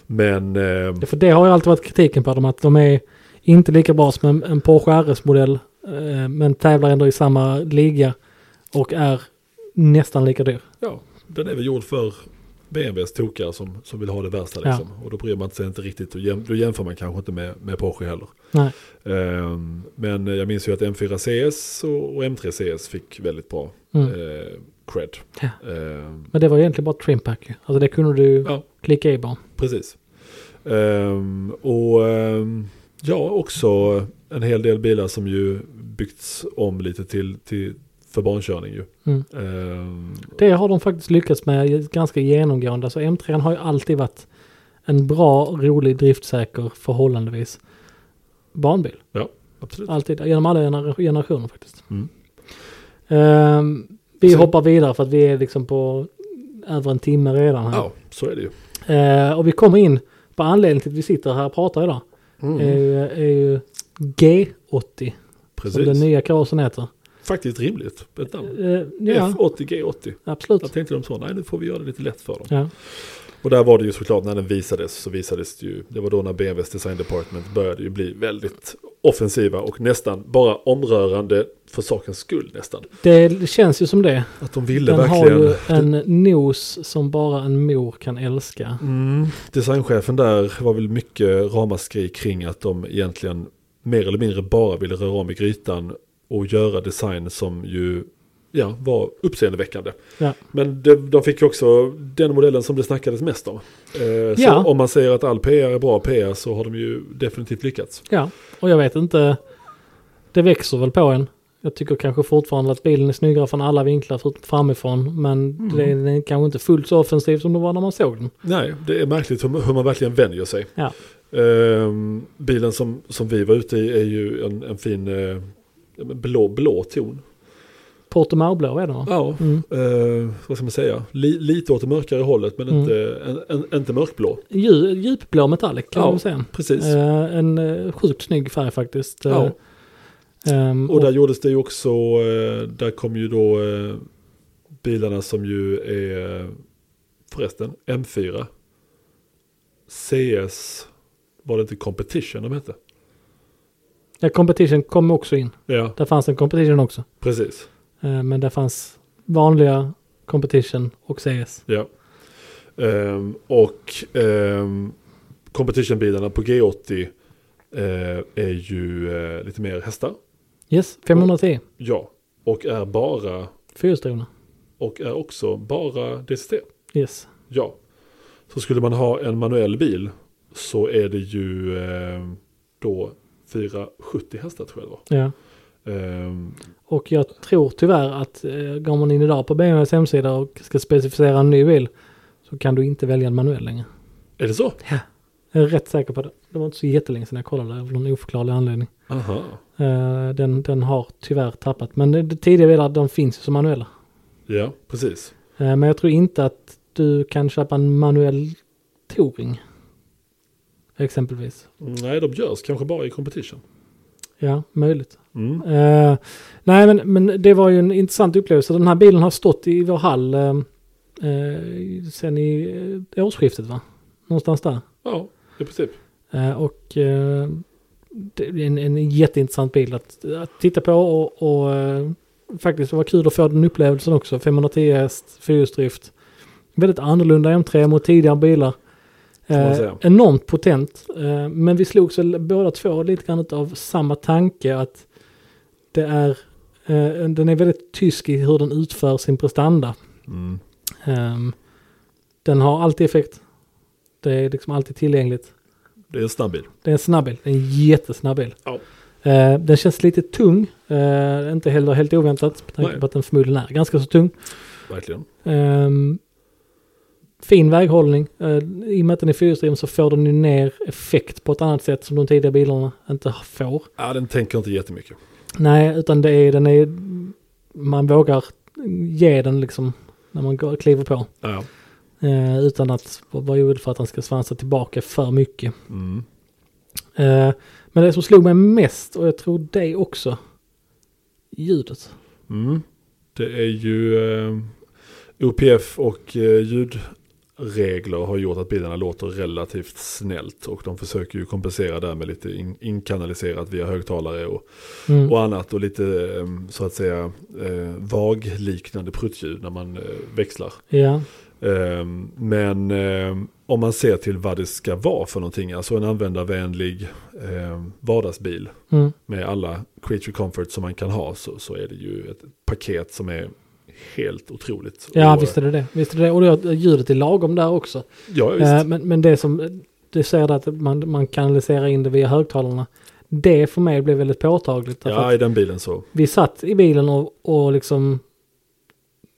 Men eh,
Ja, För det har ju alltid varit kritiken på dem, att de är inte lika bra som en, en Porsche RS-modell, eh, men tävlar ändå i samma liga och är nästan lika dyr.
ja, den är väl gjord för BMWs tokare som, som vill ha det värsta.
Ja.
Liksom. Och då bryr man sig inte riktigt. Då, jäm, då jämför man kanske inte med, med Porsche heller.
Nej.
Ehm, men jag minns ju att M4 CS och, och M3 CS fick väldigt bra
Mm.
eh, cred.
Ja.
Ehm,
Men det var ju egentligen bara trimpack ju. Alltså det kunde du
Ja.
klicka i bara.
Precis. Ehm, och ehm, ja, också en hel del bilar som ju byggts om lite till, till för barnkörning ju.
Mm.
Ehm,
Det har de faktiskt lyckats med ganska genomgående. Alltså M3 har ju alltid varit en bra, rolig, driftsäker, förhållandevis barnbil.
absolut.
Alltid, genom alla gener- generationer faktiskt.
Mm.
Ehm, vi
Så-
hoppar vidare för att vi är liksom på över en timme redan här.
Ja, så är det ju.
Eh, och vi kommer in på Eh, anledningen till att vi sitter här och pratar idag.
Mm.
Är, ju, är ju G80. Som den
Precis.
nya karossen heter.
Faktiskt rimligt. Ett namn.
Eh, ja,
F80G80. Där
absolut.
tänkte de så, nej nu får vi göra det lite lätt för dem.
Ja.
Och där var det ju såklart när den visades så visades det ju, det var då när BMWs design department började ju bli väldigt offensiva och nästan bara omrörande för sakens skull nästan.
Det känns ju som det.
Att de ville
Den har
verkligen.
ju en nos som bara en mor kan älska.
Mm, designchefen där var väl mycket ramaskri kring att de egentligen mer eller mindre bara ville röra om i grytan och göra design som ju ja, var uppseendeväckande.
Ja.
Men de, de fick ju också den modellen som det snackades mest om. Eh, så
Ja.
om man säger att all PR är bra PR så har de ju definitivt lyckats.
Ja, och jag vet inte. Det växer väl på en. Jag tycker kanske fortfarande att bilen är snyggare från alla vinklar förutom framifrån. Men det är, den är kanske inte fullt så offensiv som det var när man såg den.
Nej, det är märkligt hur, hur man verkligen vänjer sig.
Ja.
Ehm, bilen som, som vi var ute i är ju en, en fin eh, blå, blå ton.
Portomarblå är det va?
Ja,
Mm.
eh, vad ska man säga? Li, lite åt det mörkare hållet men
Mm.
inte, en, en, inte mörkblå.
Dju- Djupblå metallic kan
Ja,
man säga.
Precis.
Eh, en eh, sjukt snygg färg faktiskt. Eh,
Ja.
ehm,
Och
och
där gjordes det ju också, eh, där kom ju då eh, bilarna som ju är, förresten, M4. CS, var det inte Competition de hette?
ja, competition kom också in.
Ja,
Där fanns en competition också.
precis.
Eh, men där fanns vanliga competition och CS.
Ja. Ehm, och um, Competition-bilarna på G80 eh, är ju eh, lite mer hästar.
Yes, 510.
Ja, och är bara,
Fyrhjulsdrivna.
och är också bara DCT.
Yes.
Ja. Så skulle man ha en manuell bil så är det ju eh, då 470 hästar tror jag det var.
Ja.
Ehm,
Och jag tror tyvärr att eh, går man in idag på BMWs hemsida och ska specificera en ny bil så kan du inte välja en manuell längre.
är det så?
Jag är rätt säker på det. Det var inte så jättelänge sedan jag kollade av någon oförklarlig anledning.
Aha.
Eh, den, den har tyvärr tappat. Men det, det tidigare bilar de finns ju som manuella.
Ja, precis.
Eh, men jag tror inte att du kan köpa en manuell Touring. Exempelvis.
Nej, de görs kanske bara i competition.
Ja, möjligt.
Mm.
Eh, nej, men, men det var ju en intressant upplevelse. Den här bilen har stått i vår hall eh, eh, sen i eh, årsskiftet, va? Någonstans där.
Ja, i princip.
Eh, och eh, det är en, en jätteintressant bil att, att titta på och, och eh, faktiskt det var kul att få den upplevelsen också. 510 häst, fyrhjulsdrift. Väldigt annorlunda M3 mot tidigare bilar.
man
Eh,
säga.
enormt potent. Eh, men vi slogs väl båda två lite grann av samma tanke att det är, eh, den är väldigt tysk i hur den utför sin prestanda.
Mm.
Ehm, den har alltid effekt. Det är liksom alltid tillgängligt.
Det är en snabb bil.
Det är en snabb bil. Det är En jättesnabb bil.
Ja.
Eh, den känns lite tung. Eh, inte heller helt oväntat. Med tanke
Nej.
på att den förmodligen är ganska så tung.
Verkligen.
Ehm, fin väghållning. Eh, I och med att den är fyrhjulsdriven så får den ju ner effekt på ett annat sätt som de tidigare bilarna inte får.
Ja, den tänker inte jättemycket.
Nej, utan det är, den är... Man vågar ge den liksom när man går, kliver på.
Ja.
Eh, utan att vara orolig för att den ska svansa tillbaka för mycket.
Mm.
Eh, Men det som slog mig mest, och jag tror dig också, ljudet.
Mm. Det är ju eh, OPF och eh, ljudregler har gjort att bilarna låter relativt snällt och de försöker ju kompensera där med lite in- inkanaliserat via högtalare och,
Mm.
och annat och lite eh, så att säga eh, vagliknande pruttljud när man eh, växlar.
Ja,
Ehm, Men ehm, om man ser till vad det ska vara för någonting, alltså en användarvänlig ehm, vardagsbil
mm.
med alla creature comfort som man kan ha så, så är det ju ett paket som är helt otroligt.
ja
Och-
visst är det det. Visst är det. det. Och det, ljudet är lagom där också.
Ja, visst.
Eh, Men, men det som du säger där att man, man kanaliserar in det via högtalarna. Det för mig blev väldigt påtagligt. därför
ja,
att
i den bilen så.
Vi satt i bilen och, och liksom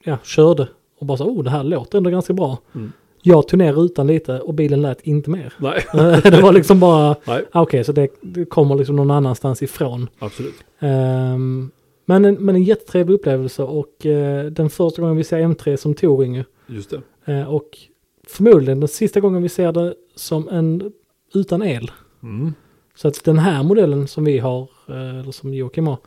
ja, körde och bara så, oh det här låter ändå ganska bra.
Mm.
Jag tog ner rutan lite och bilen lät inte mer.
Nej,
det var liksom bara,
nej,
ah, okej så det, det kommer liksom någon annanstans ifrån.
absolut.
Ehm, men, en, men en jättetrevlig upplevelse och eh, den första gången vi ser M3 som touring ju.
Just det.
Eh, och förmodligen den sista gången vi ser det som en utan el.
Mm.
Så att den här modellen som vi har, eh, eller som Joakim har,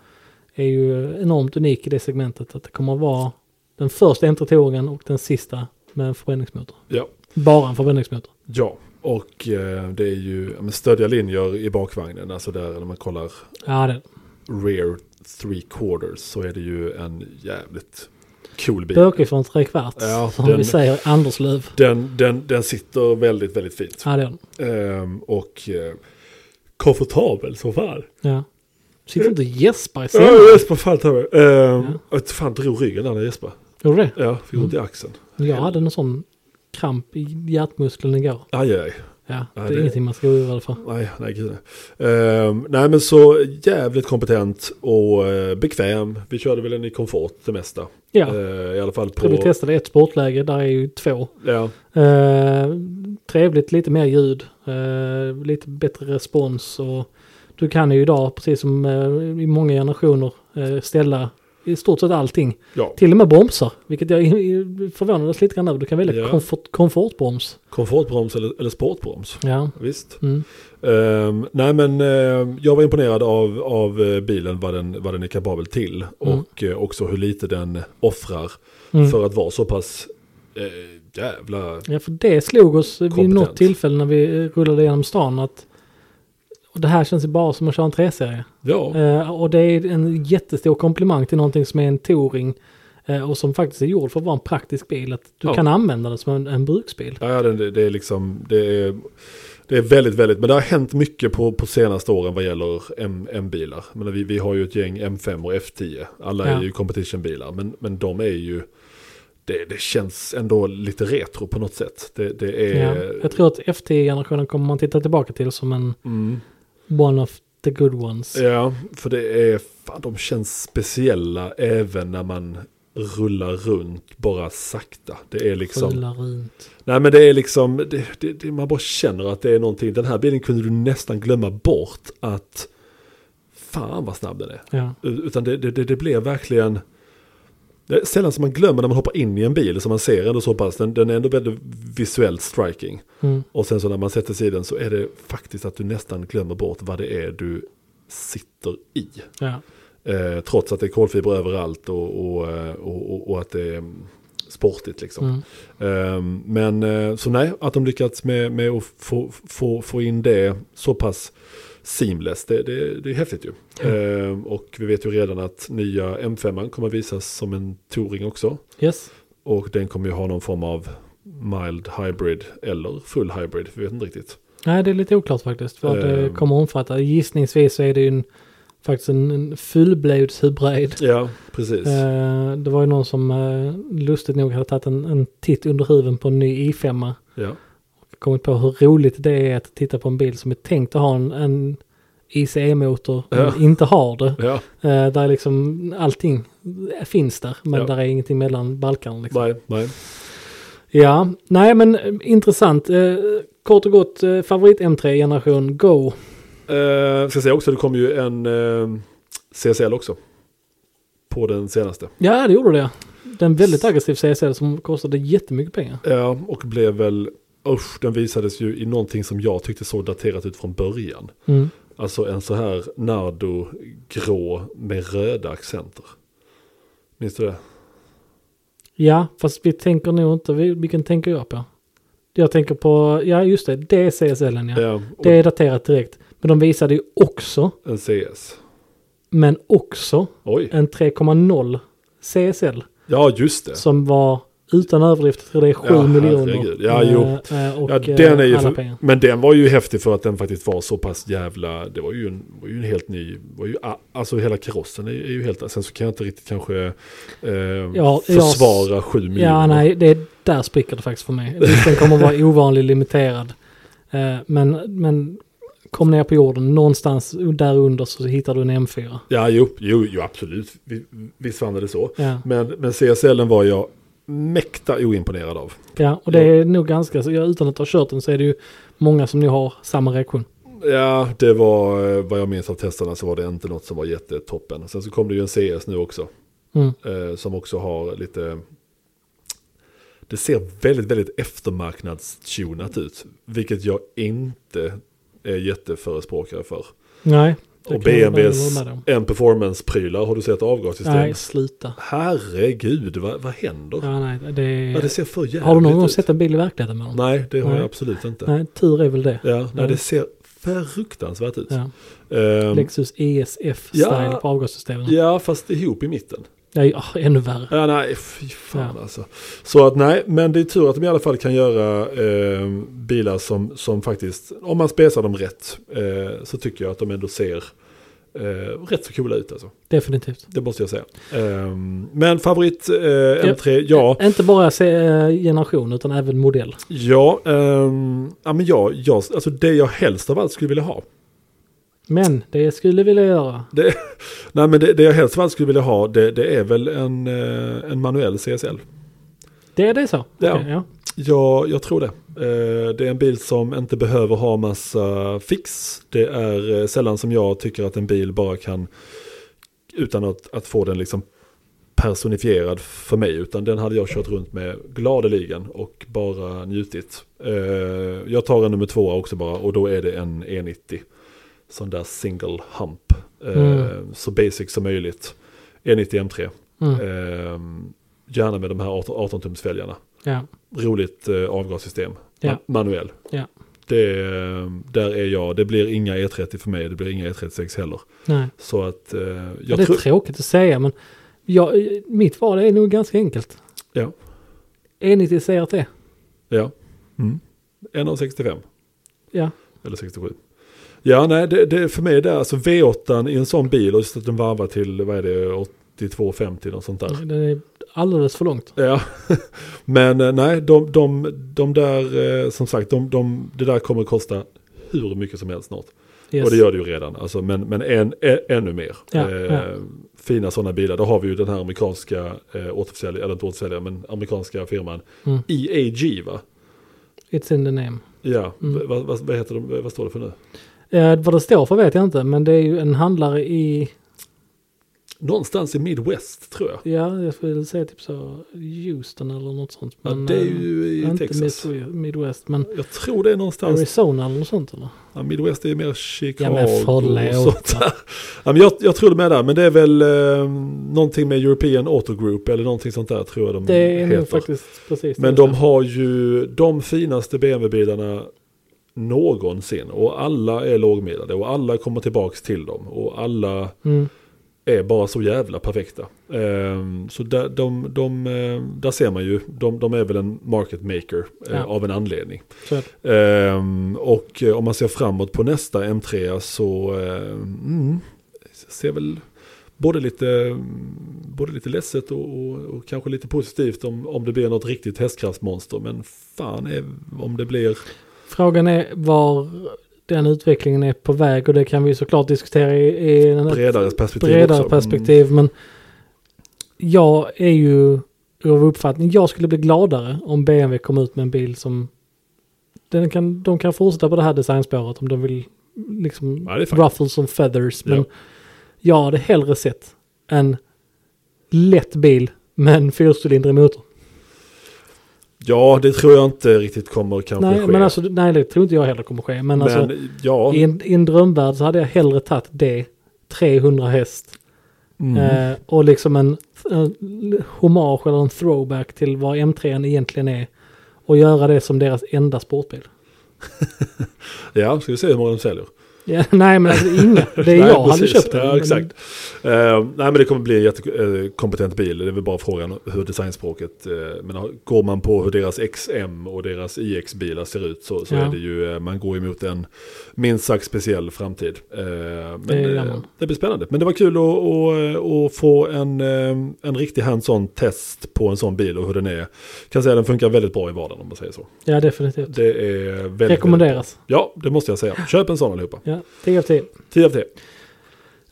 är ju enormt unik i det segmentet. Att det kommer att vara den första entretouren och den sista med en förbränningsmotor.
Ja.
Bara en förbränningsmotor.
Ja, och eh, det är ju ja, men stödja linjer i bakvagnen. Alltså där när man kollar
Ja, det
rear three quarters så är det ju en jävligt cool bil.
bökig från tre kvarts.
Ja,
som
den-
vi säger i Anderslöv.
Den, den, den sitter väldigt, väldigt fint.
Ja, det är den.
Ehm, och eh, komfortabel som fan.
Ja. Sitter inte och gäspar i
Ja,
scenen?
jag gäspar fan ta mig. Ehm, Jag fan drog ryggen där när jag gäspade.
Gjorde det?
Ja, fick
Mm.
ont i axeln.
Jag hade någon sån kramp i hjärtmuskeln igår.
Aj, aj, aj.
Ja, det är
det-
ingenting man ska oroa sig för.
Nej, nej gud nej. Ehm, nej men så jävligt kompetent och eh, bekväm. Vi körde väl den i komfort det mesta.
Ja,
Ehm, I alla fall
så vi
på...
testade ett sportläge, där är ju två.
Ja,
Eh, trevligt, lite mer ljud, eh, lite bättre respons och du kan ju idag, precis som eh, i många generationer, eh, ställa i stort sett allting.
ja,
Till och med bromsar, vilket jag förvånades lite grann över. Du kan välja
Ja.
komfort, komfortbroms.
komfortbroms eller, eller sportbroms.
Ja.
Visst.
Mm.
Ehm, nej men eh, jag var imponerad av, av eh, bilen, vad den, vad den är kapabel till. Och eh, också hur lite den offrar
Mm.
för att vara så pass eh, jävla...
Ja, för det slog oss vid
Kompetent.
något tillfälle när vi eh, rullade genom stan att och det här känns ju bara som att köra en 3-serie.
Ja,
Eh, och det är en jättestor komplimang till någonting som är en touring eh, och som faktiskt är gjord för att vara en praktisk bil. Att du
Ja.
kan använda den som en, en bruksbil.
ja det, det är liksom... Det är, det är väldigt, väldigt, men det har hänt mycket på, på senaste åren vad gäller M- M-bilar. Men vi, vi har ju ett gäng M5 och F10. Alla
Ja.
är ju competitionbilar, men, men de är ju... Det, det känns ändå lite retro på något sätt. Det, det
Ja.
är...
Jag tror att FT-generationen kommer man titta tillbaka till som en
Mm.
one of the good ones.
Ja, för det är, fan, de känns speciella även när man rullar runt bara sakta. Det är liksom,
Rullar runt.
nej men det är liksom, det, det, det, man bara känner att det är någonting. Den här bilen kunde du nästan glömma bort att, fan vad snabb den är.
Ja.
U- Utan det, det, det, det blev verkligen, det är sällan som man glömmer när man hoppar in i en bil som man ser ändå så pass, den, den är ändå väldigt visuellt striking.
Mm.
Och sen så när man sätter sig i den så är det faktiskt att du nästan glömmer bort vad det är du sitter i.
Ja.
Eh, trots att det är kolfiber överallt och, och, eh, och, och, och att det är mm, sportigt liksom.
Mm.
Ehm, men eh, så nej, att de lyckats med, med att få, få, få in det så pass seamless, det, det, det är häftigt ju. Ehm, och vi vet ju redan att nya M5 kommer visas som en touring också.
Yes.
Och den kommer ju ha någon form av mild hybrid eller full hybrid, vi vet inte riktigt.
Nej, det är lite oklart faktiskt vad det
Ehm.
kommer omfatta. Gissningsvis så är det ju en, faktiskt en, en fullblodshybrid.
Ja, precis.
Eh, det var ju någon som eh, lustigt nog hade tagit en, en titt under huven på en ny i5.
Ja.
Och kommit på hur roligt det är att titta på en bil som är tänkt att ha en, en ICE-motor men
Ja.
inte har det.
Ja,
Eh, där är liksom allting finns där men
Ja.
där är ingenting mellan balkarna. Liksom.
nej, nej.
Ja, nej men eh, intressant. Eh, kort och gott eh, favorit M3-generation Go.
Eh, ska säga också, det kom ju en eh, CSL också. På den senaste.
Ja, det gjorde det. Den väldigt aggressiv CSL som kostade jättemycket pengar.
Ja, och blev väl, usch, den visades ju i någonting som jag tyckte såg daterat ut från början.
Mm.
Alltså en så här Nardo grå med röda accenter. Minns du det?
Ja, fast vi tänker nog inte, vi- vilken tänker jag på? Jag tänker på, ja just det, det är CSLen ja.
Ja, och
Det är daterat direkt. Men de visade ju också,
en CS.
men också
Oj,
en 3,0 CSL
ja just det.
som var utan överdrift, jag tror det är 7
Ja,
miljoner.
herregud. Ja, jo.
eh, eh, Och
Ja,
ja,
den är ju
alla
för,
pengar.
men den var ju häftig för att den faktiskt var så pass jävla, det var ju en, var ju en helt ny, var ju, a- alltså hela karossen är, är ju helt, sen så kan jag inte riktigt kanske eh,
jag-
försvara sju miljoner.
Ja, nej, det är, där spricker det faktiskt för mig. Visst, den kommer vara ovanlig, limiterad. Eh, Men, men kom ner på jorden, någonstans där under så hittar du en M4.
Ja, jo, jo, jo absolut, Vi- visst fann det så.
Ja.
Men, men CSL var jag mäkta oimponerad av.
Ja, och det är nog ganska, så, ja, utan att ha kört den så är det ju många som nu har samma reaktion.
Ja, det var eh, vad jag minns av testerna så var det inte något som var jättetoppen. Sen så kom det ju en CS nu också.
Mm.
eh, som också har lite... Det ser väldigt, väldigt eftermarknadstunat ut. Vilket jag inte är jätteförespråkare för.
Nej,
Och
kan jag bara
BMWs
hålla med om.
M-performance-prylar har du sett
Nej,
avgassystem.
sluta.
Herregud, vad, vad händer? Ja.
Ja, nej, det är...
det ser för jävligt
har du någon gång
ut.
sett en bil i verkligheten med dem?
Nej, det har
Nej.
jag absolut inte.
Nej, tur är väl det.
Ja, nej,
Nej.
det ser fruktansvärt ut.
Ja.
Ehm,
Lexus E ESF-style
Ja.
på avgassystemen.
ja, fast ihop i mitten.
Ja, ja, ah, ännu värre.
Ja, nej, fy fan alltså. Så att nej, men det är tur att de i alla fall kan göra eh, bilar som, som faktiskt, om man spesar dem rätt, eh, så tycker jag att de ändå ser eh, rätt så coola ut alltså.
Definitivt.
Det måste jag säga. Ehm, men favorit eh, M3, ja.
Inte bara se- eh, generation utan även modell.
Ja, ehm, ja men ja, ja, alltså det jag helst av allt skulle vilja ha.
Men det jag skulle vilja göra.
Det, nej men det, det jag helst av allt skulle vilja ha, det, det är väl en, eh, en manuell CSL.
Det är det så?
Ja.
Okej, ja.
Ja, jag tror det. Eh, Det är en bil som inte behöver ha massa fix. Det är eh, sällan som jag tycker att en bil bara kan, utan att, att få den liksom personifierad för mig, utan den hade jag kört runt med gladeligen och bara njutit. Eh, Jag tar en nummer två också bara och då är det en E90. Sån där single hump. Eh, Så basic som möjligt. E90 M3.
Mm.
Eh, Gärna med de här 18 18-tumsfälgarna
ja.
roligt eh, avgassystem.
Ja.
Ma- manuell.
Ja.
Det, eh, där är jag. Det blir inga E30 för mig. Det blir inga E36 heller.
Nej.
Så att eh, jag
Ja, det är
tror...
tråkigt att säga men jag, eh, mitt val är nog ganska enkelt.
Ja.
E90 CRT.
Ja. Mm. En av 65.
Ja.
Eller 67. Ja, nej, det, det, för mig är det alltså V8 i en sån bil och just att den varvar till, vad är det, 82-50 något sånt där.
Den är alldeles för långt.
Ja, men eh, nej, de, de, de där, eh, som sagt, de, de, det där kommer att kosta hur mycket som helst snart.
Yes.
Och det gör det ju redan, alltså, men, men än, ä, ännu mer.
Ja,
eh,
ja.
Fina sådana bilar, då har vi ju den här amerikanska eh, återförsäljaren, eller inte återförsäljaren, men amerikanska firman
Mm.
EAG va?
It's in the name.
Ja,
Mm.
v- vad vad- vad heter de, vad står det för nu?
Eh, vad det står för vet jag inte men det är ju en handlare i,
Någonstans i Midwest tror jag.
ja jag skulle säga typ så Houston eller något sånt.
ja, det är
eh,
ju i
inte
Texas. Alltså-
Midwest, Midwest men
Jag tror det är någonstans
Arizona eller något sånt eller?
Ja, Midwest är ju mer Chicago
Ja, men förlåt.
och sånt där. Ja, men jag, jag tror de är där, men det är väl eh, någonting med European Auto Group eller någonting sånt där tror jag de
Det är
heter.
nog faktiskt precis
Mm, men
det.
de har ju de finaste BMW-bilarna någonsin och alla är lågmedlade och alla kommer tillbaks till dem och alla
Mm.
är bara så jävla perfekta. Ehm, så där, de, de, eh, där ser man ju, de, de är väl en market maker eh,
Ja.
av en anledning.
Så är det.
Ehm, och eh, om man ser framåt på nästa M3 så eh, mm, ser väl både lite, både lite ledset och, och, och kanske lite positivt om, om det blir något riktigt hästkraftsmonster. Men fan är, om det blir...
Frågan är var den utvecklingen är på väg och det kan vi såklart diskutera i, i en
Bredare perspektiv
bredare
också. Mm.
perspektiv. Men jag är ju av uppfattning, jag skulle bli gladare om BMW kom ut med en bil som den kan, de kan fortsätta på det här designspåret om de vill liksom
Ja, det är faktiskt-
ruffles and feathers. Men
Ja.
jag hade hellre sett en lätt bil med en fyrcylindrig motor.
Ja, det tror jag inte riktigt kommer kanske
Nej,
ske.
men alltså, nej, det tror inte jag heller kommer ske. Men,
Men,
alltså,
ja,
i en, i en drömvärld så hade jag hellre tagit det, 300 häst,
mm.
eh, och liksom en, en hommage eller en throwback till vad M3 egentligen är. Och göra det som deras enda sportbil.
ja, ska vi se hur många de säljer.
Ja, nej, men alltså inga. Det är
Nej,
jag hade
precis.
köpt den.
Ja,
men-
exakt. Eh, nej, men det kommer bli en jättekompetent bil. Det är väl bara frågan hur designspråket... eh, men har- går man på hur deras XM och deras IX-bilar ser ut så, så
Ja.
är det ju... eh, man går emot en minst sagt speciell framtid. Eh, men
Det
det,
gör
eh,
man.
det blir spännande. Men det var kul att, att, att få en, eh, en riktig hands-on test på en sån bil och hur den är. Kan säga att den funkar väldigt bra i vardagen om man säger så.
Ja, definitivt.
Det är väldigt... väldigt bra.
Rekommenderas.
Ja, det måste jag säga. Köp en sån allihopa.
Ja, 10 av 10.
10 av 10.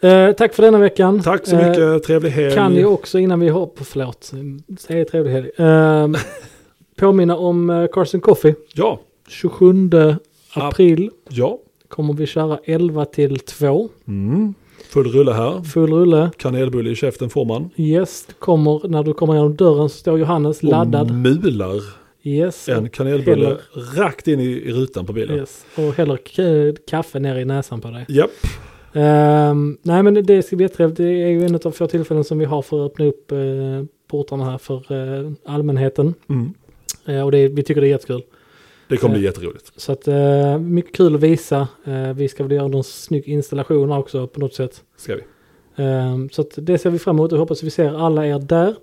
Eh, tack för denna veckan.
Tack så
Eh,
mycket, trevlig helg.
Kan ju också innan vi hoppar, förlåt, säg trevlig helg. Eh, påminna om eh, Carson Coffee.
Ja,
27 april
ja.
kommer vi köra 11 till 2.
Mm. Full rulle här.
Full rulle.
Kanelbulle i käften får man.
Yes, det kommer, när du kommer genom dörren så står Johannes
Och
laddad.
mular
Yes.
en kanelbulle
Häller.
rakt in i, i rutan på bilen.
yes. Och häller k- kaffe ner i näsan på dig.
Japp,
Ehm, nej men det- det ska bli jättetrevligt. Det är ju en av få tillfällen som vi har för att öppna upp eh, portarna här för eh, allmänheten.
Mm.
Eh, och det, vi tycker det är jättekul.
Det kommer bli jätteroligt.
Så att eh, mycket kul att visa. Eh, vi ska väl göra någon snygg installation också på något sätt.
Ska vi.
Ehm, Så att det ser vi fram emot och hoppas vi ser alla er där.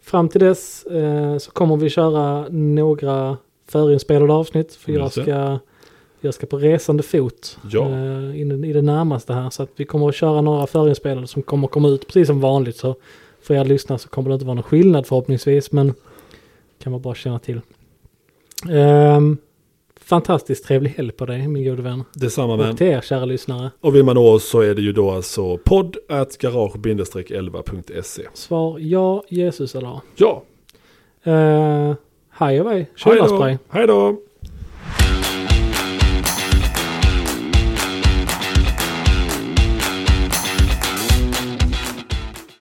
Fram till dess eh, så kommer vi köra några förinspelade avsnitt. För jag
Mm, Just det.
ska, jag ska på resande fot
Ja.
eh, i, den- i det närmaste här. Så att vi kommer att köra några förinspelade som kommer komma ut precis som vanligt. Så för er lyssnare så kommer det inte vara någon skillnad förhoppningsvis. Men kan man bara känna till. Ehm, fantastiskt trevlig helg på dig min gode vän.
Detsamma men.
Och till er kära lyssnare.
Och vill man nå oss så är det ju då alltså podd at garage-11.se.
Svar ja, Jesus eller?
Ja,
Uh, hej och hej,
Eh, hej
kylarspray.
då! Hej då!